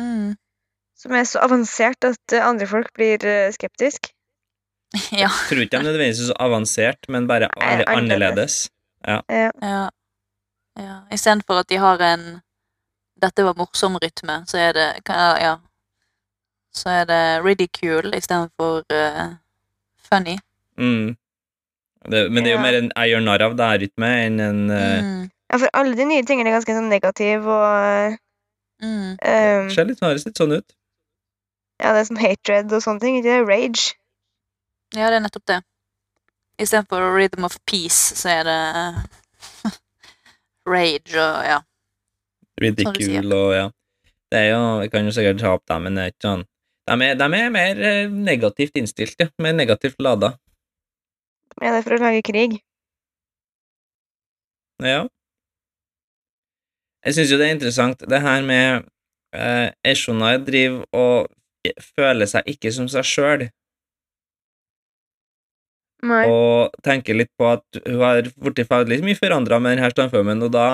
Mm. som er så avansert at eh, andre folk blir eh, skeptisk. Ja, Tror ikke de nødvendigvis er så avansert, men bare Nei, er annerledes. ja. ja. Istedenfor at de har en 'dette var morsom'-rytme, så er det hva- Ja. Så er det ridicule istedenfor uh, funny. Mm. Det, men det er jo Ja. mer en jeg gjør narr av deg-rytme enn en eh, Mm. Ja, for alle de nye tingene er ganske sånn negative og Mm. eh, um, Ser litt, høres litt sånn ut. Ja, det er sånn hatred og sånne ting. Ikke det? Rage. Ja, det er nettopp det. Istedenfor rhythm of peace, så er det eh, rage og ja. Som Ridicule og ja. Det er jo, Vi kan jo sikkert ta opp dem, men det er ikke sånn De er, de er mer eh, negativt innstilt, ja. Mer negativt lada. Ja, det er for å lage krig. Ja. Jeg syns jo det er interessant, det her med eh, Eshonai driver og føler seg ikke som seg sjøl, Nei. og tenker litt på at hun har blitt veldig mye forandra med denne standformen, og da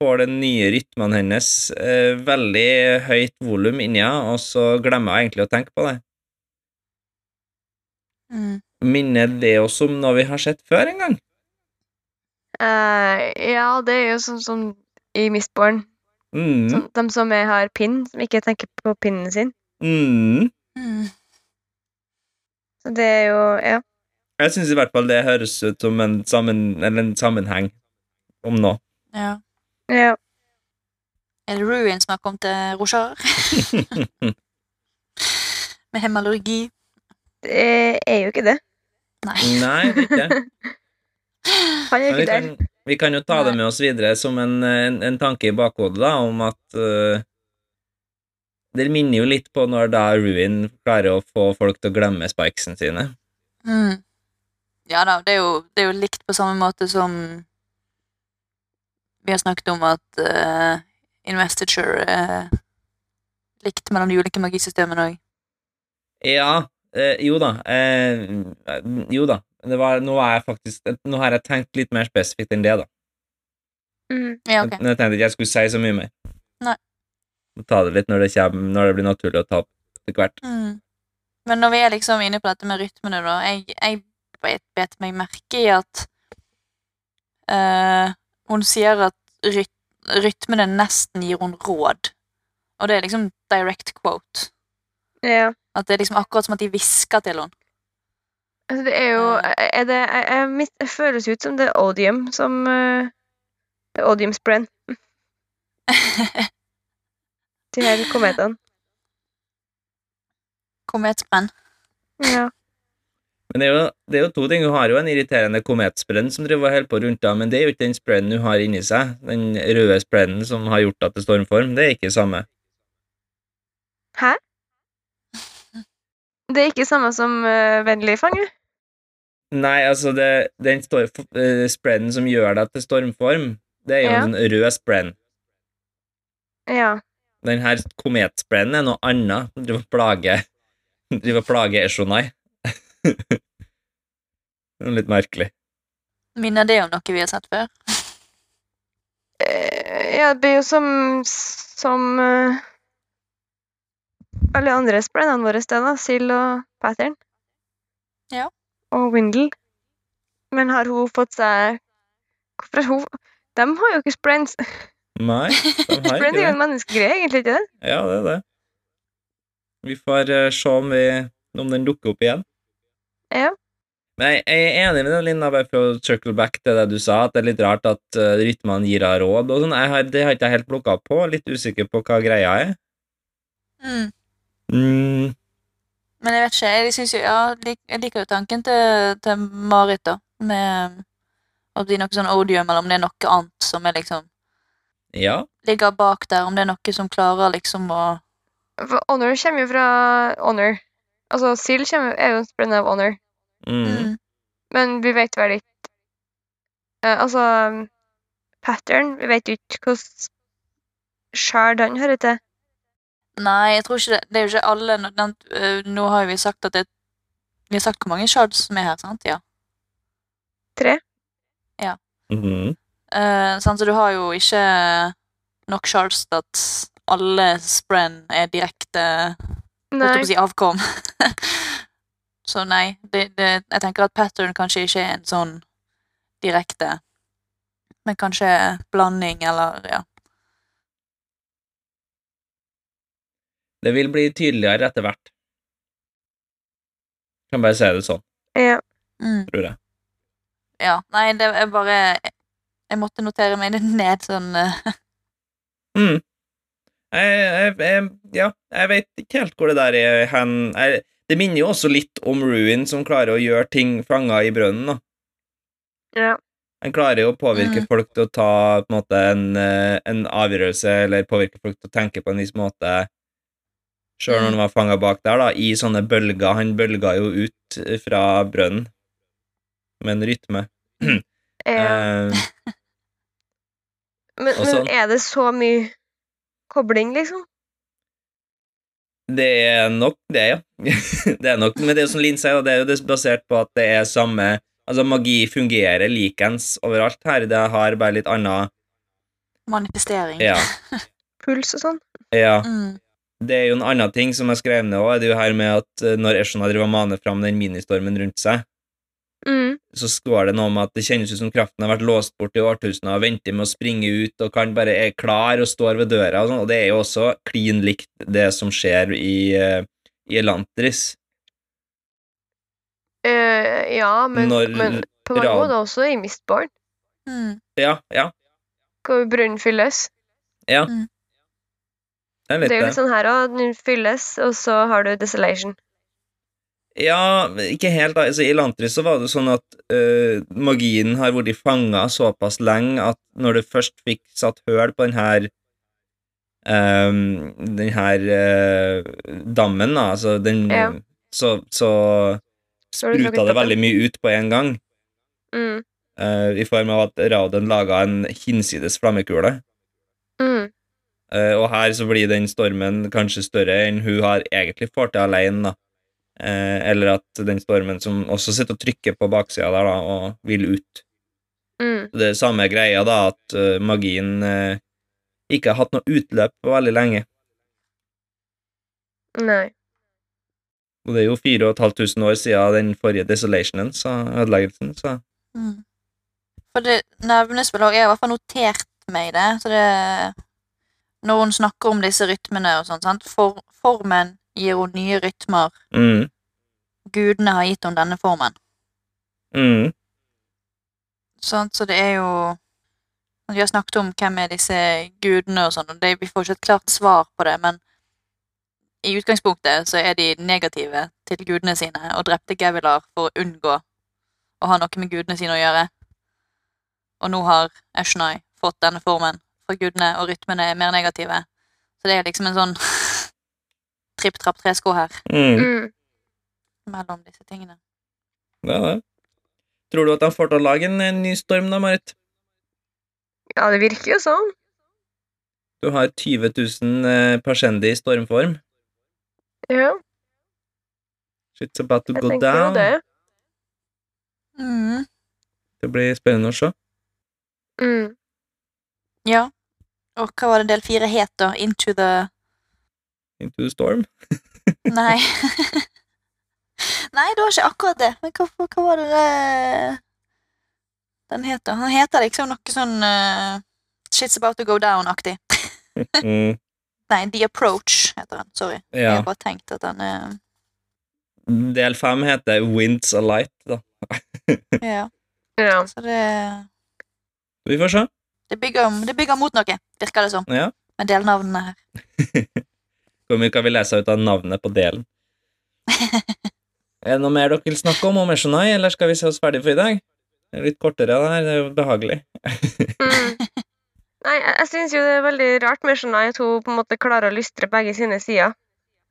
får den nye rytmen hennes eh, veldig høyt volum inni henne, og så glemmer hun egentlig å tenke på det. Mm. Minner det oss om noe vi har sett før en gang? Eh, ja, det er jo sånn som i Mistborn. Mm, Sånn, de som er, har pinn, som ikke tenker på pinnen sin. mm. Mm. Så det er jo Ja. Jeg syns i hvert fall det høres ut som en, sammen, eller en sammenheng om noe. ja. ja. Er det Ruin som har kommet til Rochard med hemalurgi? Det er jo ikke det. Nei. Nei, det er ikke det. Han er jo Men vi, ikke der. kan, vi kan jo ta det Nei. med oss videre som en, en, en tanke i bakhodet, da, om at eh, Det minner jo litt på når da Ruin klarer å få folk til å glemme spikesene sine. Mm. Ja da, det er, jo, det er jo likt på samme måte som vi har snakket om at eh, investiture er likt mellom de ulike magisystemene òg. Ja, eh, jo da. eh, jo da. Det var, nå, er jeg faktisk, nå har jeg tenkt litt mer spesifikt enn det, da. Mm. Ja, ok. Men Jeg tenkte ikke jeg skulle si så mye mer. Nei. Må Ta det litt når det, kommer, når det blir naturlig å ta opp etter hvert. Mm. Men når vi er liksom inne på dette med rytmene, da Jeg, jeg bet, bet meg merke i at eh, Hun sier at ryt, rytmene nesten gir hun råd. Og det er liksom direct quote. Ja. At det er liksom akkurat som at de hvisker til henne. Altså, det er jo er det, jeg, jeg, mitt, det føles ut som det er odium som eh, det er Odium spren. De her kometene. Kometspenn. Ja. Men det er, jo, det er jo to ting. Hun har jo en irriterende kometspreden som driver og holder på rundt da, men det er jo ikke den spreden hun har inni seg. Den røde spreden som har gjort henne til stormform. Det er ikke samme. Det er ikke samme som uh, vennlig fange. Nei, altså, det, den stor, eh, spreden som gjør deg til stormform, det er jo Ja. en sånn rød spred. Ja. Den her kometspreden er noe annet. Den driver og plager Driver og plager Eshonai. det er litt merkelig. Minner det om noe vi har sett før? Eh, ja, det blir jo som som eh, alle andre sprennene våre det da, Sild og Pattern. Ja. Og Windle. Men har hun fått seg Hvorfor har hun De har jo ikke sprens. Nei, de har Spren ikke er jo det. en menneskegreie, egentlig, ikke det? Ja, det er det. Vi får eh, se om, vi, om den dukker opp igjen. Ja. Men jeg jeg er enig med deg, Linda, bare for å circle back til det du sa, at det er litt rart at eh, rytmene gir deg råd og sånn. Jeg har- Det har ikke jeg helt plukka opp på. Litt usikker på hva greia er. Mm. Mm, Men jeg vet ikke. Jeg, synes jo, ja, lik, jeg liker jo tanken til, til Marit, da. Med at det er noe sånn odium, eller om det er noe annet som er liksom ja. ligger bak der, om det er noe som klarer liksom å For Honor kommer jo fra Honor. Altså, Sild kommer- er jo en sprenn av Honor. Mm. mm. Men vi vet vel ikke eh, Altså Pattern Vi vet jo ikke hvordan sjel han hører til. Nei, jeg tror ikke det. Det er jo ikke alle nå- den, øh, Nå har jo vi sagt at det Vi har sagt hvor mange shards som er her, sant? Ja. Mhm. Eh, sant? Så du har jo ikke nok shards til at alle spren er direkte holdt jeg på å Nei. si, avkom. så nei, det, det, jeg tenker at pattern kanskje ikke er en sånn direkte Men kanskje blanding eller ja. Det vil bli tydeligere etter hvert. Kan bare si det sånn, Ja. Mm. tror jeg. Ja, nei, det er bare Jeg måtte notere meg det ned sånn eh, Mm. Jeg, jeg, jeg, ja, jeg vet ikke helt hvor det der er hen. Jeg, det minner jo også litt om Ruin, som klarer å gjøre ting fanga i brønnen. da. ja. Han klarer jo å påvirke folk til å ta på en, måte, en, eh, en avgjørelse, eller påvirke folk til å tenke på en viss måte, sjøl når han var fanga bak der, da, i sånne bølger. Han bølga jo ut fra brønnen med en rytme. ja. Eh, Men, og men sånn. er det så mye kobling, liksom? Det er nok det, ja. det er nok, men det er jo som Linn sier, da, det er jo det basert på at det er samme Altså, magi fungerer likens overalt her. Det har bare litt anna manifestering. Ja. Puls og sånn? ja. Mm. Det er jo en annen ting som jeg skrev ned òg, det er jo her med at eh, når Eshona driver og maner fram den ministormen rundt seg, Mm. så står det noe om at det kjennes ut som kraften har vært låst bort i årtusener og venter med å springe ut og kan bare er klar og står ved døra og sånn, og det er jo også klin likt det som skjer i, eh, i Elantris. Eh, ja, men, Når men på mange rad- måter også i Mistborn, Mm. Ja, ja, hvor brønnen fylles. det er Det litt er jo litt sånn her òg. Den fylles, og så har du desolation. Ja, men ikke helt. da. Altså, I Elantris så var det sånn at eh, magien har vært fanga såpass lenge at når du først fikk satt høl på den her ehm, den her eh, dammen, da, altså den Ja. så, så Så har du spruta trukket det opp veldig mye ut på en gang, Mm. eh, i form av at Radon laga en hinsides flammekule. Mm. Eh, og her så blir den stormen kanskje større enn hun har egentlig får til alene, da. Eh, eller at den stormen som også sitter og trykker på baksida der, da, og vil ut. Mm. Det er samme greia, da, at eh, magien eh, ikke har hatt noe utløp på veldig lenge. Nei. Og det er jo 4500 år siden den forrige desolationen, så ødeleggelsen, så Mm. For det nevnes vel òg Jeg har i hvert fall notert meg det. Så det Når hun snakker om disse rytmene og sånn, sant For, Formen gir henne nye rytmer. mm, Gudene har gitt henne denne formen. mm, Sant? Så det er jo Vi har snakket om hvem er disse gudene og sånn, og det, vi får ikke et klart svar på det, men i utgangspunktet så er de negative til gudene sine og drepte Gavilar for å unngå å ha noe med gudene sine å gjøre. Og nå har Eshnai fått denne formen fra gudene, og rytmene er mer negative. Så det er liksom en sånn tripp-trapp-tresko her mm. Mm. mellom disse tingene. Det er det. Tror du at de får til å lage en, en ny storm, da, Marit? Ja, det virker jo sånn. Du har 20 000 eh, persendi i stormform. Ja, Shit's about to jeg go tenker jo down. det. Det. Mm. blir spennende å se. Mm. Ja. Og hva var det del fire het, da? Into the Into the storm. Nei. Nei, det var ikke akkurat det. Men hva, hva var det det- den heter? Han heter liksom noe sånn eh, Shit's about to go down-aktig. Mm, Nei, The Approach heter den. Sorry. Jeg ja. har bare tenkt at eh, den er Del fem heter Winds Alight, da. Ja. Ja. Så det Vi får se. det bygger, det bygger mot noe, virker det som. Ja. Med delnavnene her. Hvor mye kan vi lese ut av navnet på delen? er det noe mer dere vil snakke om om Eshonai, eller skal vi se oss ferdig for i dag? Det er litt kortere det her, det er jo behagelig. Mm. Nei, jeg, jeg syns jo det er veldig rart med Shania at hun på en måte klarer å lystre begge sine sider.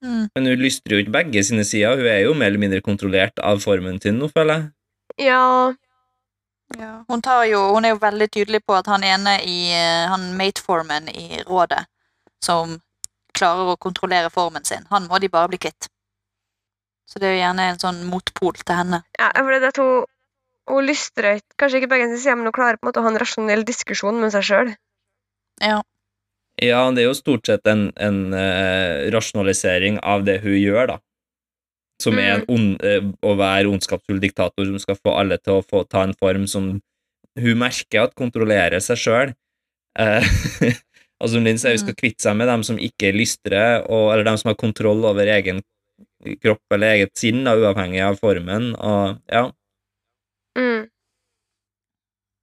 Mm. Men hun lystrer jo ikke begge sine sider, hun er jo mer eller mindre kontrollert av formen sin nå, føler jeg. Ja, Hun, tar jo, hun er jo veldig tydelig på at han ene i eh, han mateformen i rådet, som klarer å kontrollere formen sin, han må de bare bli kvitt. Så det er jo gjerne en sånn motpol til henne. ja for det er det at hun, hun lystrer ikke- Kanskje ikke begge sin side, men hun klarer på en måte å ha en rasjonell diskusjon med seg sjøl. Ja, det er jo stort sett en, en eh, rasjonalisering av det hun gjør, da. Som er en ond, eh, å være ondskapsfull diktator som skal få alle til å få, ta en form som hun merker at kontrollerer seg sjøl. og som Linn sier, hun skal kvitte seg med dem som ikke lystrer, og, eller dem som har kontroll over egen kropp eller eget sinn, da, uavhengig av formen. Og ja, Mm.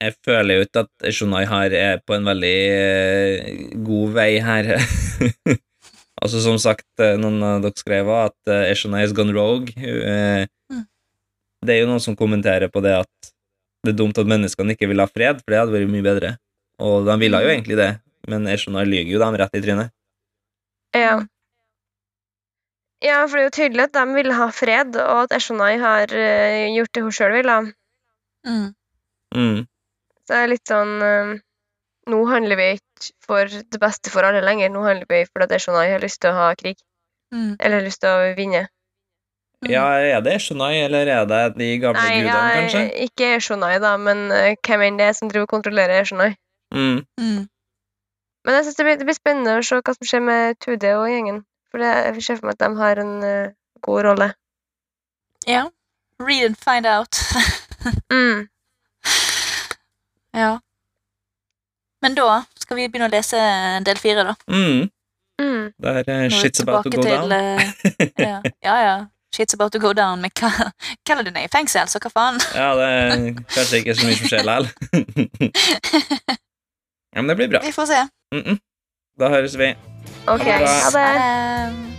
jeg føler jo ikke at Shonai her er på en veldig eh, god vei her. altså, som sagt, eh, noen av dere skrev også at eh, Shonai has gone rogue. Hun, eh, Mm. Det er jo noen som kommenterer på det at det er dumt at menneskene ikke vil ha fred, for det hadde vært mye bedre. Og de ville jo Mm. egentlig det, men Shonai lyver jo dem rett i trynet. Ja. Mm. ja, for det er jo tydelig at de vil ha fred, og at Eshonai har eh, gjort det hun sjøl vil. Da. Mm. Mm. Så det er litt sånn eh, Nå handler vi ikke for det beste for alle lenger. Nå handler vi fordi at Eshonai har lyst til å ha krig, Mm. eller lyst til å vinne. Mm. Ja, er det Shonai, eller er det de gamle Nei, gudene, ja, kanskje? ikke Eshonai, da, men eh, hvem enn det er som driver og kontrollerer Eshonai. Mm. Mm. Men jeg synes det blir, det blir spennende å se hva som skjer med 2D og gjengen. For det, jeg ser for meg at de har en eh, god rolle. Ja. Read and find out. Mm. ja. Men da skal vi begynne å lese del fire, da. Mm. Mm. Der eh, Nå er vi shit's about to tilbake go down. til, eh, ja, ja, ja. Shit's about to go down. Men hva kaller du den i fengsel, så hva faen? Ja, det er kanskje ikke så mye som skjer likevel. ja, men det blir bra. Vi får se. Mm -mm. Da høres vi. OK. Ha det bra. Ha det. Ha det.